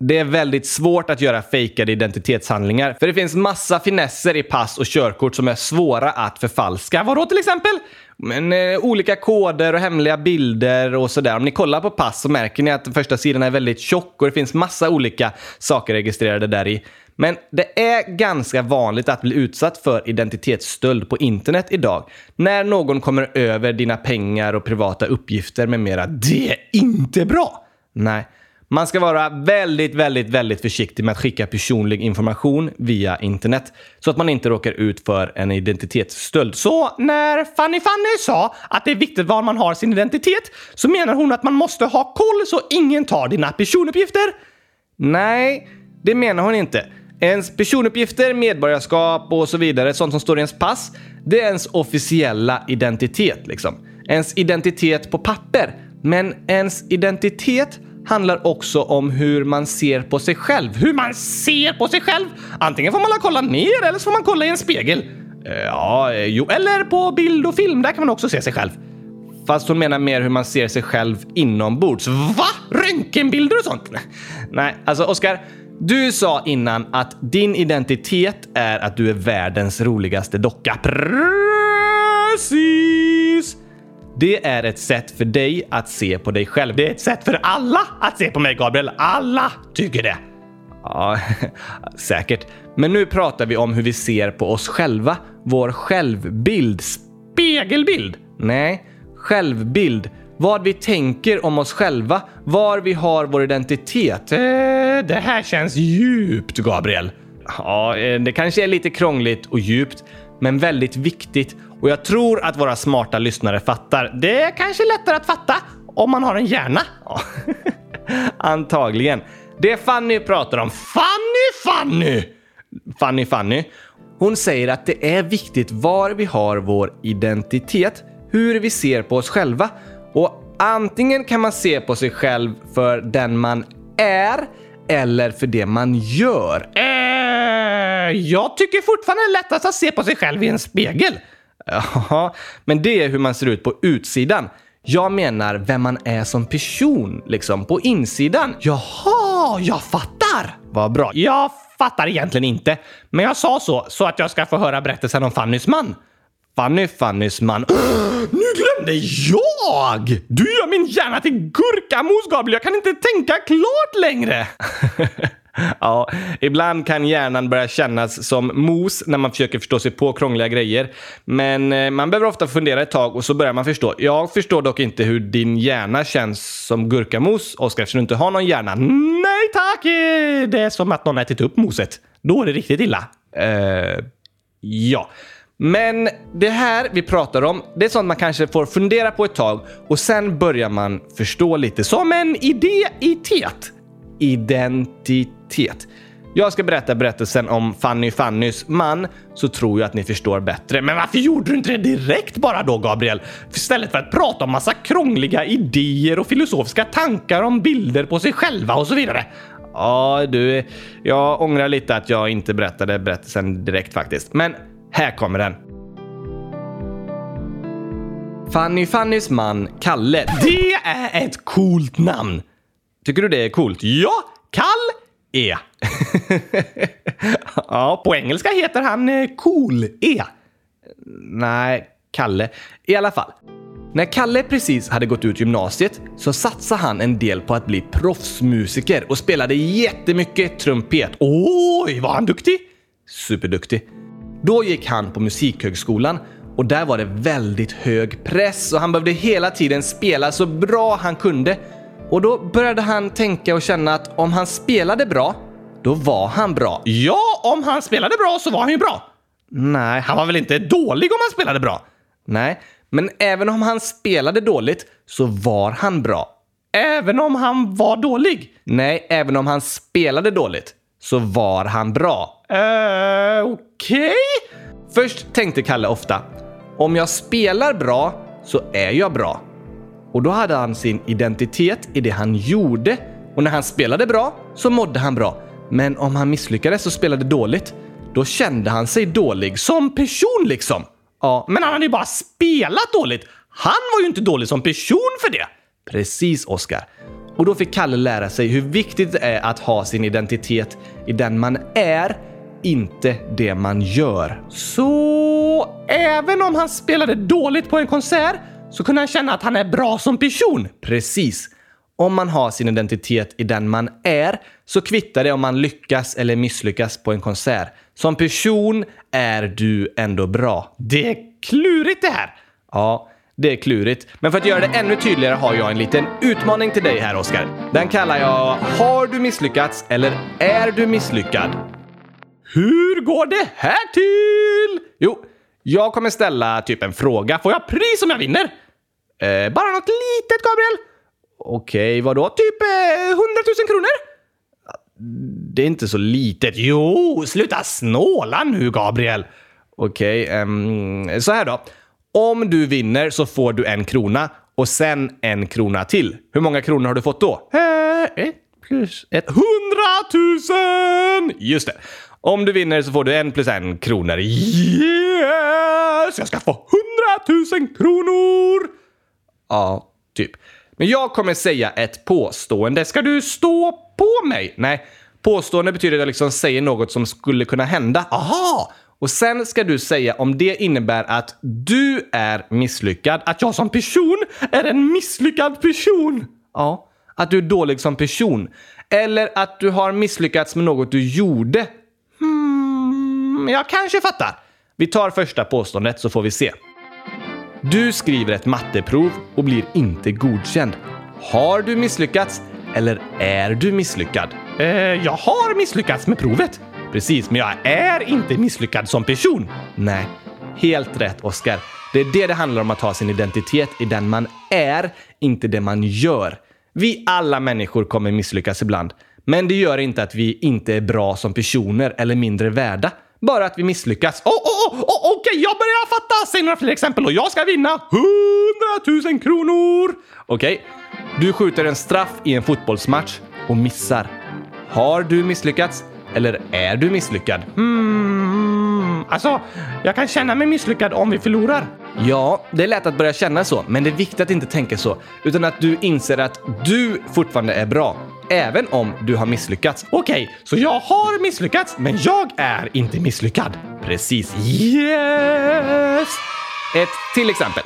Det är väldigt svårt att göra fejkade identitetshandlingar för det finns massa finesser i pass och körkort som är svåra att förfalska. Vadå till exempel? Men, eh, olika koder och hemliga bilder och sådär. Om ni kollar på pass så märker ni att den första sidan är väldigt tjock och det finns massa olika saker registrerade där i. Men det är ganska vanligt att bli utsatt för identitetsstöld på internet idag. När någon kommer över dina pengar och privata uppgifter med mera. Det är inte bra. Nej. Man ska vara väldigt, väldigt, väldigt försiktig med att skicka personlig information via internet så att man inte råkar ut för en identitetsstöld. Så när Fanny Fanny sa att det är viktigt var man har sin identitet så menar hon att man måste ha koll så ingen tar dina personuppgifter. Nej, det menar hon inte. Ens personuppgifter, medborgarskap och så vidare, sånt som står i ens pass, det är ens officiella identitet. liksom. Ens identitet på papper. Men ens identitet handlar också om hur man ser på sig själv. Hur man ser på sig själv. Antingen får man kolla ner eller så får man kolla i en spegel. Eh, Ja, eh, jo, eller på bild och film. Där kan man också se sig själv. Fast hon menar mer hur man ser sig själv inombords. Va? Röntgenbilder och sånt? Nej, alltså Oskar, du sa innan att din identitet är att du är världens roligaste docka. Precis! Det är ett sätt för dig att se på dig själv. Det är ett sätt för alla att se på mig, Gabriel. Alla tycker det. Ja, säkert. Men nu pratar vi om hur vi ser på oss själva. Vår självbild. Spegelbild? Nej, självbild. Vad vi tänker om oss själva. Var vi har vår identitet. Eh, Eh, Det här känns djupt, Gabriel. Ja, eh, det kanske är lite krångligt och djupt, men väldigt viktigt. Och jag tror att våra smarta lyssnare fattar. Det är kanske lättare att fatta om man har en hjärna. Ja, Antagligen. Det Fanny pratar om. Fanny, Fanny! Fanny Fanny. Hon säger att det är viktigt var vi har vår identitet, hur vi ser på oss själva. Och antingen kan man se på sig själv för den man är eller för det man gör. Eh, jag tycker fortfarande det är lättast att se på sig själv i en spegel. Ja, men det är hur man ser ut på utsidan. Jag menar vem man är som person, liksom på insidan. Jaha, jag fattar! Vad bra. Jag fattar egentligen inte, men jag sa så så att jag ska få höra berättelsen om Fannys man. Fanny Fannys man. Nu glömde jag! Du gör min hjärna till gurkamos, Gabriel. Jag kan inte tänka klart längre. ja, ibland kan hjärnan börja kännas som mos när man försöker förstå sig på krångliga grejer. Men eh, man behöver ofta fundera ett tag och så börjar man förstå. Jag förstår dock inte hur din hjärna känns som gurkamos, Oskar, eftersom du inte har någon hjärna. Nej tack! Eh, Det är som att någon ätit upp moset. Då är det riktigt illa. Eh, ja. Men det här vi pratar om, det är sånt man kanske får fundera på ett tag och sen börjar man förstå lite. Som en idé i tet. Identitet. Jag ska berätta berättelsen om Fanny Fannys man så tror jag att ni förstår bättre. Men varför gjorde du inte det direkt bara då, Gabriel? Istället för att prata om massa krångliga idéer och filosofiska tankar om bilder på sig själva och så vidare. Ja, du, jag ångrar lite att jag inte berättade berättelsen direkt faktiskt. Men här kommer den. Fanny Fannys man, Kalle. Det är ett coolt namn. Tycker du det är coolt? Ja, E. Kall-E. ja, på engelska heter han eh, E. Cool-E. Nej, Kalle. I alla fall. När Kalle precis hade gått ut gymnasiet så satsade han en del på att bli proffsmusiker och spelade jättemycket trumpet. Och Oj, var han duktig? superduktig. Då gick han på Musikhögskolan och där var det väldigt hög press och han behövde hela tiden spela så bra han kunde. Och då började han tänka och känna att om han spelade bra, då var han bra. Ja, om han spelade bra så var han ju bra. Nej, Han var väl inte dålig om han spelade bra? Nej, men även om han spelade dåligt så var han bra. Även om han var dålig? Nej, även om han spelade dåligt så var han bra. Eh, okej? Först tänkte Kalle ofta, om jag spelar bra så är jag bra. Och då hade han sin identitet i det han gjorde och när han spelade bra så mådde han bra. Men om han misslyckades och spelade dåligt, då kände han sig dålig som person liksom. Ja, Men han hade ju bara spelat dåligt. Han var ju inte dålig som person för det. Precis, Oscar. Och då fick Kalle lära sig hur viktigt det är att ha sin identitet i den man är, inte det man gör. Så även om han spelade dåligt på en konsert så kunde han känna att han är bra som person. Precis. Om man har sin identitet i den man är så kvittar det om man lyckas eller misslyckas på en konsert. Som person är du ändå bra. Det är klurigt det här. Ja, det är klurigt. Men för att göra det ännu tydligare har jag en liten utmaning till dig här, Oskar. Den kallar jag “Har du misslyckats?” eller “Är du misslyckad?” Hur går det här till? Jo, jag kommer ställa typ en fråga. Får jag pris om jag vinner? Eh, bara något litet, Gabriel? Okej, vadå? Typ eh, 100 000 kronor? Det är inte så litet. Jo, sluta snåla nu Gabriel. Okej, ehm, så här då. Om du vinner så får du en krona och sen en krona till. Hur många kronor har du fått då? Eh, Eh, ett plus ett. Hundratusen! Just det. Om du vinner så får du en plus en kronor. Yes! Jag ska få hundratusen kronor! Ja, typ. Men jag kommer säga ett påstående. Ska du stå på mig? Nej, påstående betyder att jag liksom säger något som skulle kunna hända. Aha! Och sen ska du säga om det innebär att du är misslyckad, att jag som person är en misslyckad person. Ja, att du är dålig som person. Eller att du har misslyckats med något du gjorde. Hmm, jag kanske fattar. Vi tar första påståendet så får vi se. Du skriver ett matteprov och blir inte godkänd. Har du misslyckats eller är du misslyckad? Eh, jag har misslyckats med provet. Precis, men jag är inte misslyckad som person. Nej, helt rätt Oscar. Det är det det handlar om att ha sin identitet i den man är, inte det man gör. Vi alla människor kommer misslyckas ibland, men det gör inte att vi inte är bra som personer eller mindre värda. Bara att vi misslyckas. Oh, oh, oh, oh, Okej, jag börjar fatta! Säg några fler exempel och jag ska vinna 100 000 kronor! Okej, du skjuter en straff i en fotbollsmatch och missar. Har du misslyckats eller är du misslyckad? Mm, alltså, jag kan känna mig misslyckad om vi förlorar. Ja, det är lätt att börja känna så, men det är viktigt att inte tänka så. Utan att du inser att du fortfarande är bra, även om du har misslyckats. Okej, så jag har misslyckats, men jag är inte misslyckad. Precis. Yes! Ett till exempel.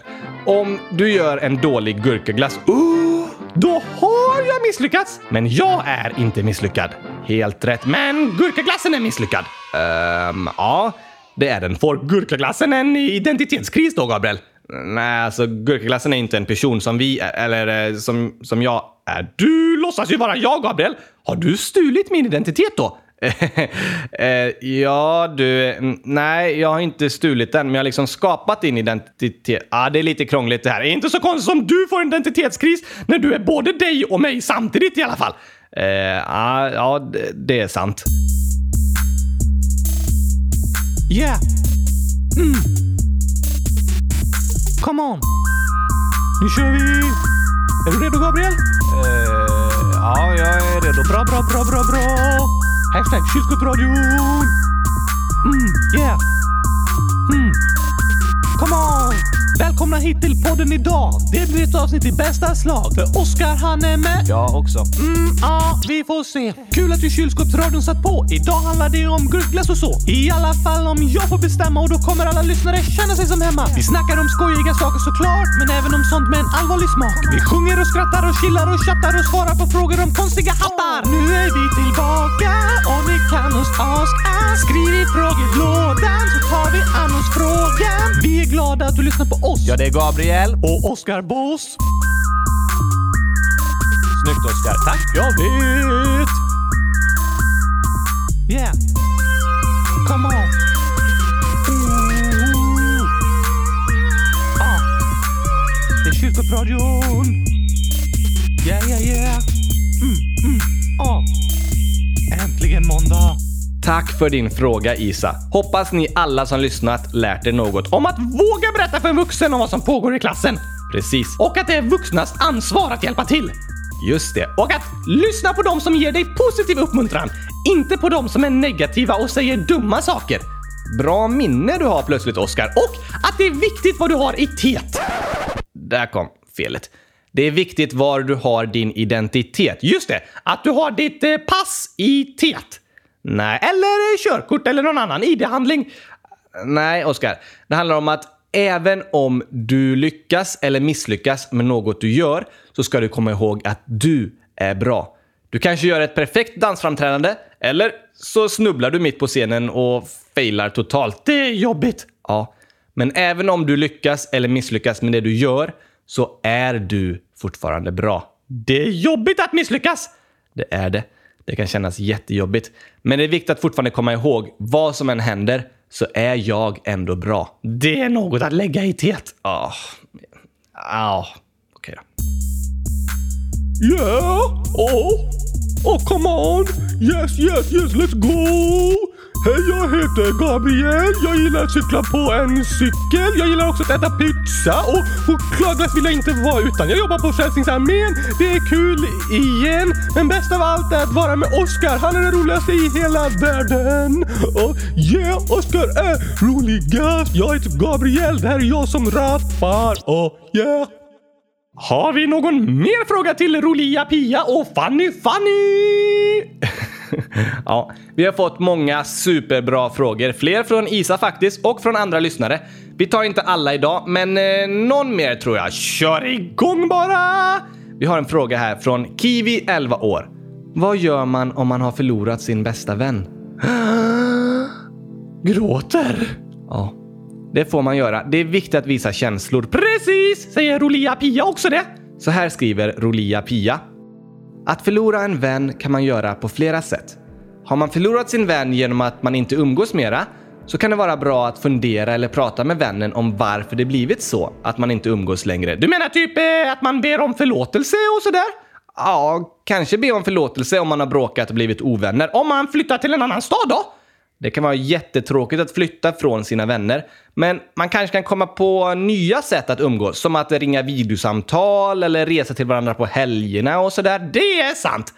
Om du gör en dålig gurkaglass. uh, Oh, då har jag misslyckats, men jag är inte misslyckad. Helt rätt. Men gurkaglassen är misslyckad. Ehm, ja, det är den. Får gurkaglassen en identitetskris då, Gabriel? Nej, alltså gurkaglassen är inte en person som vi, eller eh, som, som jag är. Du låtsas ju vara jag, Gabriel! Har du stulit min identitet då? eh, ja, du. mm, Nej, jag har inte stulit den, men jag har liksom skapat din identitet. ah, det är lite krångligt det här. Det är inte så konstigt som du får en identitetskris när du är både dig och mig samtidigt i alla fall. Eh, ah, ja, det, det är sant. Yeah. Mm. Come on. Nu kör vi! Är du redo Gabriel? ja, jag är redo. Bra, bra, bra, bra, bra! Hashtag kylskåpsradion! Mm, yeah! Mm. Come on! Välkomna hit till podden idag! Det blir ett avsnitt i bästa slag. För Oskar han är med. Jag också. Mm, ja, vi får se. Kul att du kylskåpsradion satt på. Idag handlar det om gurkglass och så. I alla fall om jag får bestämma och då kommer alla lyssnare känna sig som hemma. Vi snackar om skojiga saker såklart, men även om sånt med en allvarlig smak. Vi sjunger och skrattar och chillar och chattar och svarar på frågor om konstiga hattar. Nu är vi tillbaka och ni kan oss ask us. Skriv i frågelådan så tar vi an oss frågan. Vi är glada att du lyssnar på oss. Ja, det är Gabriel. Och Oskar Boss. Snyggt Oskar. Tack. Jag vet! Yeah. Come on. Ooh. Ah. Det är kyrkopradion. Yeah, yeah, yeah. Mm, mm, ah. Äntligen måndag. Tack för din fråga Isa. Hoppas ni alla som lyssnat lärt er något om Om att våga berätta för en vuxen om vad som pågår i klassen. Precis. Och att det är vuxnas ansvar att hjälpa till. Just det. Och att lyssna på dem som ger dig positiv uppmuntran. Inte på dem som är negativa och säger dumma saker. Bra minne du har plötsligt Oskar. Och att det är viktigt vad du har i tet. Där kom felet. Det är viktigt var du har din identitet. Just det, att du har ditt eh, pass i tet. Nej, Eller eh, körkort eller någon annan ID-handling. nej Oskar. Det handlar om att även om du lyckas eller misslyckas med något du gör så ska du komma ihåg att du är bra. Du kanske gör ett perfekt dansframträdande eller så snubblar du mitt på scenen och failar totalt. Det är jobbigt. Ja, men även om du lyckas eller misslyckas med det du gör så är du fortfarande bra. Det är jobbigt att misslyckas. Det är det. Det kan kännas jättejobbigt. Men det är viktigt att fortfarande komma ihåg, vad som än händer så är jag ändå bra. Det är något att lägga i tet. Ah. Ah. Okej då. Yeah! Oh! Oh, come on! Yes, yes, yes, let's go! Hej, jag heter Gabriel. Jag gillar att cykla på en cykel. Jag gillar också att äta pizza och chokladglass vill jag inte vara utan. Jag jobbar på Frälsningsarmén. Det är kul igen. Men bäst av allt är att vara med Oscar. Han är den roligaste i hela världen. Och yeah, Oscar är roligast. Jag heter Gabriel. Det här är jag som rappar. Och yeah. Har vi någon mer fråga till Rolia Pia och Fanny Fanny? Ja, vi har fått många superbra frågor. Fler från Isa faktiskt och från andra lyssnare. Vi tar inte alla idag, men eh, någon mer tror jag. Kör igång bara! Vi har en fråga här från Kiwi, 11 år. Vad gör man om man har förlorat sin bästa vän? Gråter? Ja, det får man göra. Det är viktigt att visa känslor. Precis, säger Rolia Pia också det. Så här skriver Rolia Pia. Att förlora en vän kan man göra på flera sätt. Har man förlorat sin vän genom att man inte umgås mera så kan det vara bra att fundera eller prata med vännen om varför det blivit så att man inte umgås längre. Du menar typ eh, att man ber om förlåtelse och sådär? Ja, kanske be om förlåtelse om man har bråkat och blivit ovänner. Om man flyttar till en annan stad då? Det kan vara jättetråkigt att flytta från sina vänner, men man kanske kan komma på nya sätt att umgås, som att ringa videosamtal eller resa till varandra på helgerna och sådär. Det är sant!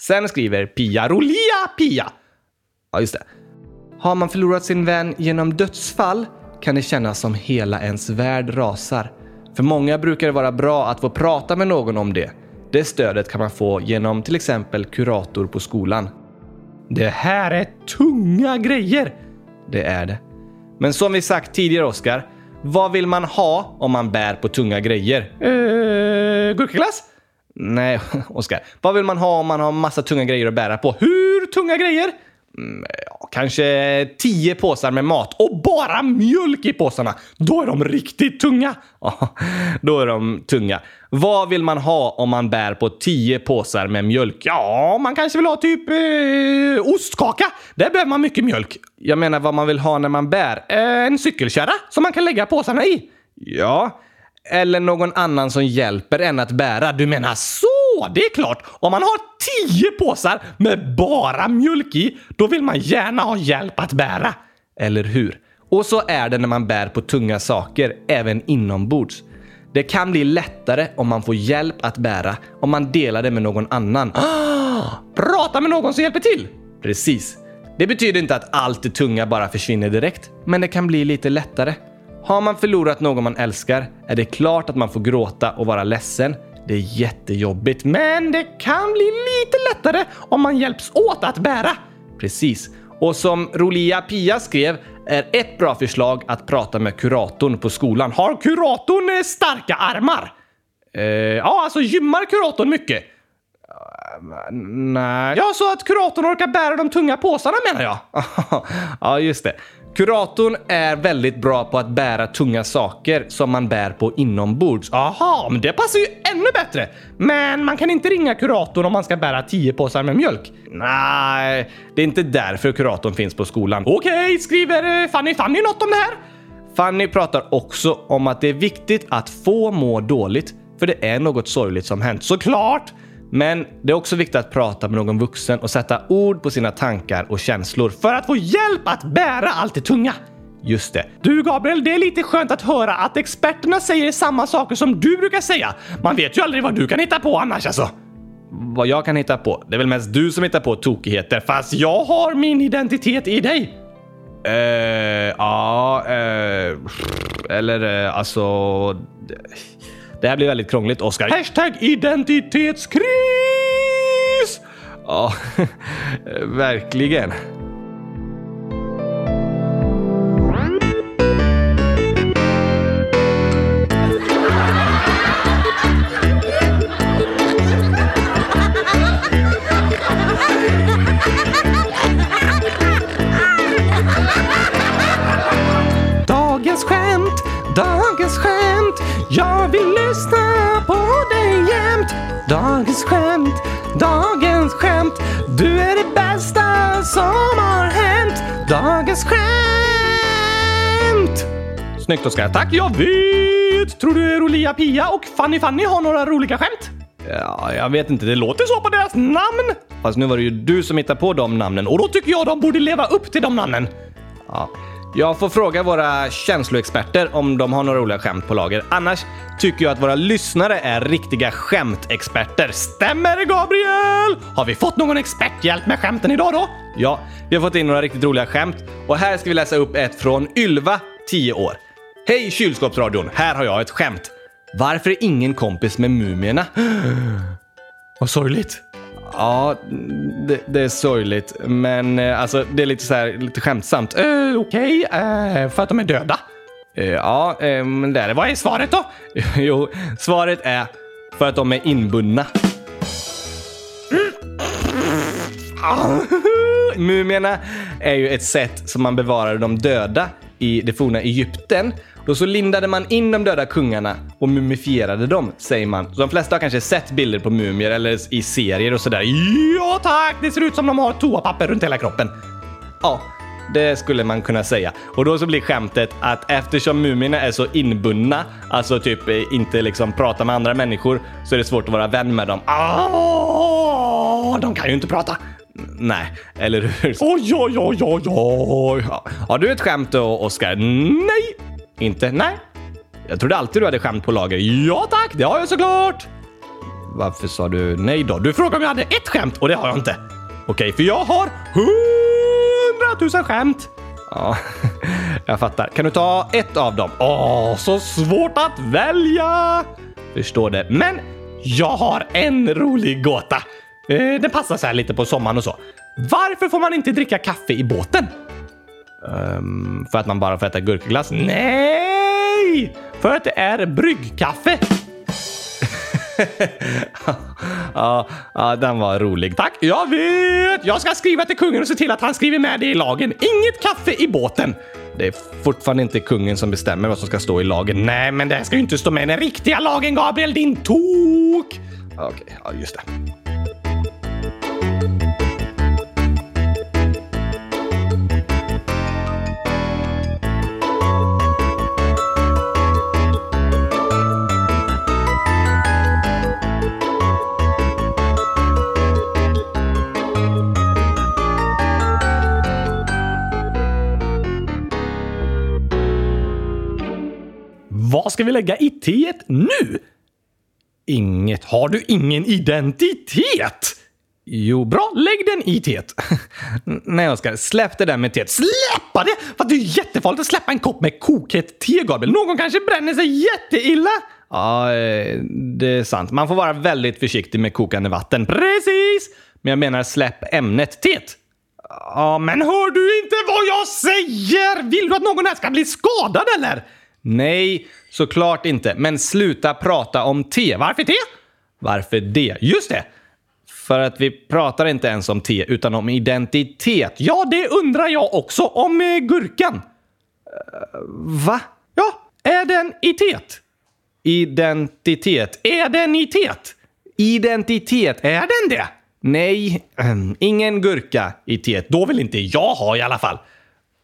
Sen skriver Pia Rolia Pia. Ja, just det. Har man förlorat sin vän genom dödsfall kan det kännas som hela ens värld rasar. För många brukar det vara bra att få prata med någon om det. Det stödet kan man få genom till exempel kurator på skolan. Det här är tunga grejer. Det är det. Men som vi sagt tidigare, Oskar, vad vill man ha om man bär på tunga grejer? Eh, gurkaglass? Nej, Oskar. Vad vill man ha om man har massa tunga grejer att bära på? Hur tunga grejer? Mm, ja, kanske tio påsar med mat och bara mjölk i påsarna. Då är de riktigt tunga. Ja, då är de tunga. Vad vill man ha om man bär på tio påsar med mjölk? Ja, man kanske vill ha typ eh, ostkaka. Där behöver man mycket mjölk. Jag menar vad man vill ha när man bär. Eh, en cykelkärra som man kan lägga påsarna i. Ja, eller någon annan som hjälper en att bära. Du menar så? Det är klart. Om man har tio påsar med bara mjölk i, då vill man gärna ha hjälp att bära. Eller hur? Och så är det när man bär på tunga saker, även inombords. Det kan bli lättare om man får hjälp att bära, om man delar det med någon annan. Ah! Prata med någon som hjälper till! Precis. Det betyder inte att allt det tunga bara försvinner direkt, men det kan bli lite lättare. Har man förlorat någon man älskar är det klart att man får gråta och vara ledsen. Det är jättejobbigt, men det kan bli lite lättare om man hjälps åt att bära. Precis. Och som Rolia Pia skrev är ett bra förslag att prata med kuratorn på skolan. Har kuratorn starka armar? Eh, ja, alltså gymmar kuratorn mycket? Nej. Ja, så att kuratorn orkar bära de tunga påsarna menar jag. ja, just det. Kuratorn är väldigt bra på att bära tunga saker som man bär på inombords. Aha, men det passar ju ännu bättre! Men man kan inte ringa kuratorn om man ska bära tio påsar med mjölk. Nej, det är inte därför kuratorn finns på skolan. Okej, skriver eh, Fanny Fanny något om det här? Fanny pratar också om att det är viktigt att få må dåligt, för det är något sorgligt som hänt. Såklart! Men det är också viktigt att prata med någon vuxen och sätta ord på sina tankar och känslor för att få hjälp att bära allt det tunga. Just det. Du Gabriel, det är lite skönt att höra att experterna säger samma saker som du brukar säga. Man vet ju aldrig vad du kan hitta på annars alltså. Vad jag kan hitta på? Det är väl mest du som hittar på tokigheter, fast jag har min identitet i dig. Eh, ja, eh, eller eh, alltså... Det här blir väldigt krångligt, Oskar. Hashtag identitetskris! Ja, verkligen. Dagens skämt, dagens skämt jag vill lyssna på dig jämt Dagens skämt, dagens skämt Du är det bästa som har hänt Dagens skämt Snyggt Oskar, Tack, jag vet! Tror du Rolia Pia och Fanny Fanny har några roliga skämt? Ja, jag vet inte, det låter så på deras namn! Fast nu var det ju du som hittade på de namnen och då tycker jag de borde leva upp till de namnen. Ja. Jag får fråga våra känsloexperter om de har några roliga skämt på lager. Annars tycker jag att våra lyssnare är riktiga skämtexperter. Stämmer det Gabriel? Har vi fått någon experthjälp med skämten idag då? Ja, vi har fått in några riktigt roliga skämt och här ska vi läsa upp ett från Ylva, 10 år. Hej kylskåpsradion, här har jag ett skämt. Varför är ingen kompis med mumierna? Vad sorgligt. Ja, det, det är sorgligt, men eh, alltså, det är lite, så här, lite skämtsamt. Eh, Eh, Okej, eh, för att de är döda. eh, Ja, eh, men där, vad är svaret då? Jo, svaret är för att de är inbundna. Mumierna är ju ett sätt som man bevarade de döda i det forna Egypten. Då så lindade man in de döda kungarna och mumifierade dem, säger man. Så de flesta har kanske sett bilder på mumier eller i serier och sådär. Ja tack, det ser ut som de har toapapper runt hela kroppen. Ja, det skulle man kunna säga. Och då så blir skämtet att eftersom mumierna är så inbundna, alltså typ eh, inte liksom prata med andra människor, så är det svårt att vara vän med dem. Ah, de kan ju inte prata. Mm, Nej, eller hur? Oj, oj, oj, oj, oj. Ja. Har du ett skämt då, Oskar? Nej! Inte? Nej? Jag trodde alltid du hade skämt på lager. Ja tack, det har jag såklart! Varför sa du nej då? Du frågade om jag hade ett skämt och det har jag inte. Okej, för jag har hundratusen skämt. Ja, jag fattar. Kan du ta ett av dem? Åh, så svårt att välja! Förstår det. Men jag har en rolig gåta. Eh, den passar så här lite på sommaren och så. Varför får man inte dricka kaffe i båten? Ehm, för att man bara får äta gurkaglass? Nej! För att det är bryggkaffe. ja, ja, den var rolig. Tack! Jag vet! Jag ska skriva till kungen och se till att han skriver med det i lagen. Inget kaffe i båten! Det är fortfarande inte kungen som bestämmer vad som ska stå i lagen. Nej, men det ska ju inte stå med i den riktiga lagen, Gabriel, din tok! Okej, ja, just det. Vad ska vi lägga i teet nu? Inget. Har du ingen identitet? Jo, Bra, lägg den i teet. Nej, Oskar. Släpp det där med teet. Släppa det! För att det är ju jättefarligt att släppa en kopp med kokhett te, Gabriel. Någon kanske bränner sig jätteilla. Ja, eh, det är sant. Man får vara väldigt försiktig med kokande vatten. Precis! Men jag menar släpp ämnet teet. Ja, men hör du inte vad jag säger? Vill du att någon här ska bli skadad eller? Nej, såklart inte. Men sluta prata om te. Varför te? Varför det? Just det! För att vi pratar inte ens om te, utan om identitet. Ja, det undrar jag också om eh, gurkan. Va? Ja, är den i teet? Identitet. Är den i teet? Identitet. Är den det? ehm, Nej, ingen gurka i teet. Då vill inte jag ha i alla fall.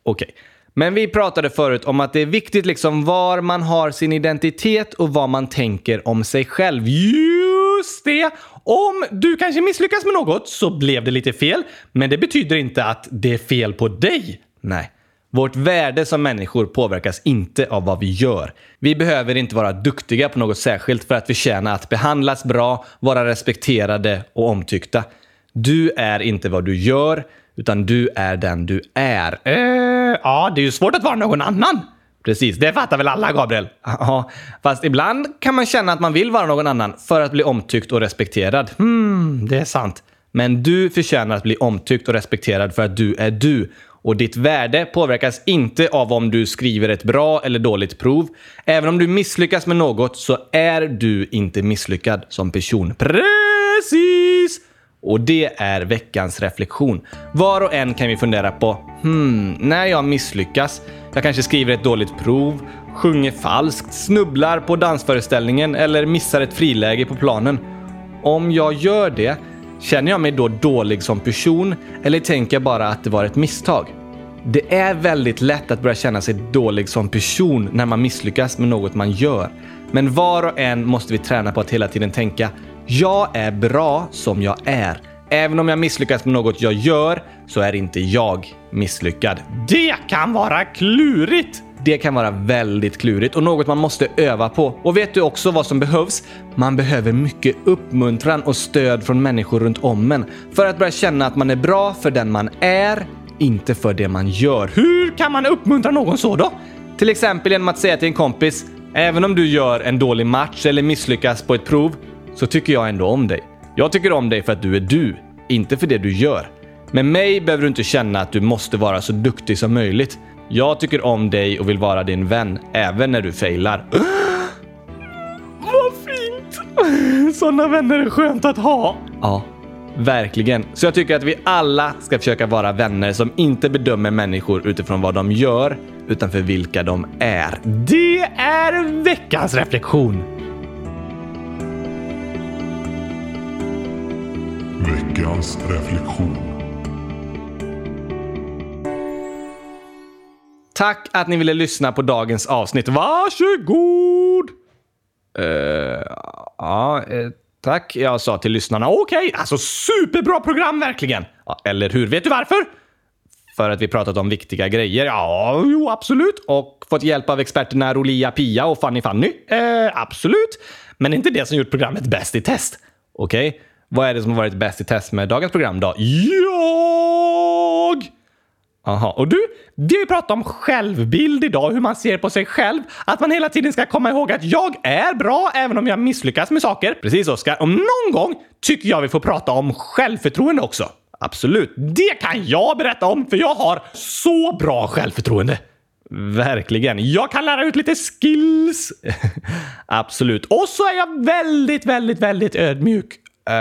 Okej. Men vi pratade förut om att det är viktigt liksom var man har sin identitet och vad man tänker om sig själv. Just det! Om du kanske misslyckas med något så blev det lite fel, men det betyder inte att det är fel på dig. Nej. Vårt värde som människor påverkas inte av vad vi gör. Vi behöver inte vara duktiga på något särskilt för att förtjäna att behandlas bra, vara respekterade och omtyckta. Du är inte vad du gör, utan du är den du är. Eh, ja, det är ju svårt att vara någon annan. Precis, Det fattar väl alla, Gabriel? Ja, fast ibland kan man känna att man vill vara någon annan för att bli omtyckt och respekterad. Hmm. Mm, Det är sant. Men du förtjänar att bli omtyckt och respekterad för att du är du. Och ditt värde påverkas inte av om du skriver ett bra eller dåligt prov. Även om du misslyckas med något så är du inte misslyckad som person. Precis! Och det är veckans reflektion. Var och en kan vi fundera på, hmm, när jag misslyckas, jag kanske skriver ett dåligt prov, sjunger falskt, snubblar på dansföreställningen eller missar ett friläge på planen. Om jag gör det, känner jag mig då dålig som person eller tänker jag bara att det var ett misstag? Det är väldigt lätt att börja känna sig dålig som person när man misslyckas med något man gör. Men var och en måste vi träna på att hela tiden tänka “Jag är bra som jag är. Även om jag misslyckas med något jag gör så är inte jag misslyckad.” Det kan vara klurigt! Det kan vara väldigt klurigt och något man måste öva på. Och vet du också vad som behövs? Man behöver mycket uppmuntran och stöd från människor runt om en för att börja känna att man är bra för den man är, inte för det man gör. Hur kan man uppmuntra någon så då? Till exempel genom att säga till en kompis “Även om du gör en dålig match eller misslyckas på ett prov, så tycker jag ändå om dig. Jag tycker om dig för att du är du, inte för det du gör. Med mig behöver du inte känna att du måste vara så duktig som möjligt. Jag tycker om dig och vill vara din vän, även när du failar.” Vad fint! Sådana vänner är skönt att ha. Ja, verkligen. Så jag tycker att vi alla ska försöka vara vänner som inte bedömer människor utifrån vad de gör, utan för vilka de är. Det är veckans reflektion. Veckans reflektion. Tack att ni ville lyssna på dagens avsnitt. Varsågod! Eh, Ja, eh, tack. Jag sa till lyssnarna. Okej, alltså superbra program verkligen! Ja, eller hur? Vet du varför? För att vi pratat om viktiga grejer. Ja, jo absolut. Och fått hjälp av experterna Rolia Pia och Fanny Fanny. Eh, absolut. Men det är inte det som gjort programmet bäst i test. Okej, vad är det som har varit bäst i test med dagens program då? Jag! Aha, och du? Det vi pratar om självbild idag, hur man ser på sig själv. Att man hela tiden ska komma ihåg att jag är bra även om jag misslyckas med saker. Precis Oskar. Om någon gång tycker jag vi får prata om självförtroende också. Absolut. Det kan jag berätta om för jag har så bra självförtroende. Verkligen. Jag kan lära ut lite skills. Absolut. Och så är jag väldigt, väldigt, väldigt ödmjuk. Eh,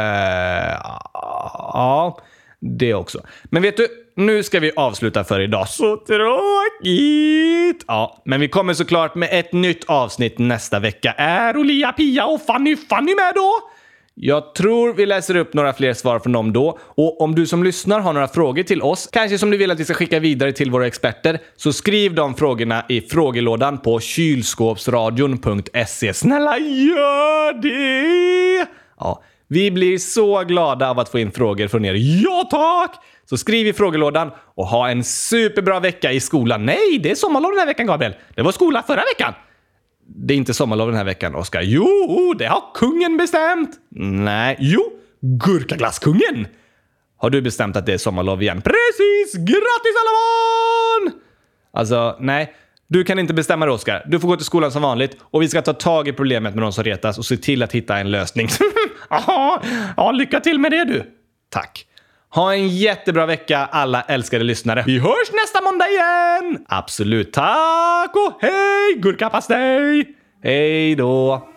ja, det också. Men vet du, nu ska vi avsluta för idag. Så tråkigt! Ja, men vi kommer såklart med ett nytt avsnitt nästa vecka. Är Olia, Pia och Fanny Fanny med då? Jag tror vi läser upp några fler svar från dem då. Och om du som lyssnar har några frågor till oss, kanske som du vill att vi ska skicka vidare till våra experter, så skriv de frågorna i frågelådan på kylskåpsradion.se. Snälla gör det! Ja, vi blir så glada av att få in frågor från er. Ja tack! Så skriv i frågelådan och ha en superbra vecka i skolan. Nej, det är sommarlov den här veckan Gabriel. Det var skola förra veckan. Det är inte sommarlov den här veckan, Oskar. Jo, det har kungen bestämt. Nej. Jo, gurkaglasskungen. Har du bestämt att det är sommarlov igen? Precis! Grattis alla barn! Alltså, nej. Du kan inte bestämma det, Oskar. Du får gå till skolan som vanligt och vi ska ta tag i problemet med de som retas och se till att hitta en lösning. Jaha, ja, lycka till med det du. Tack. Ha en jättebra vecka alla älskade lyssnare. Vi hörs nästa måndag igen! Absolut. Tack och hej gurkapastej! Hej då!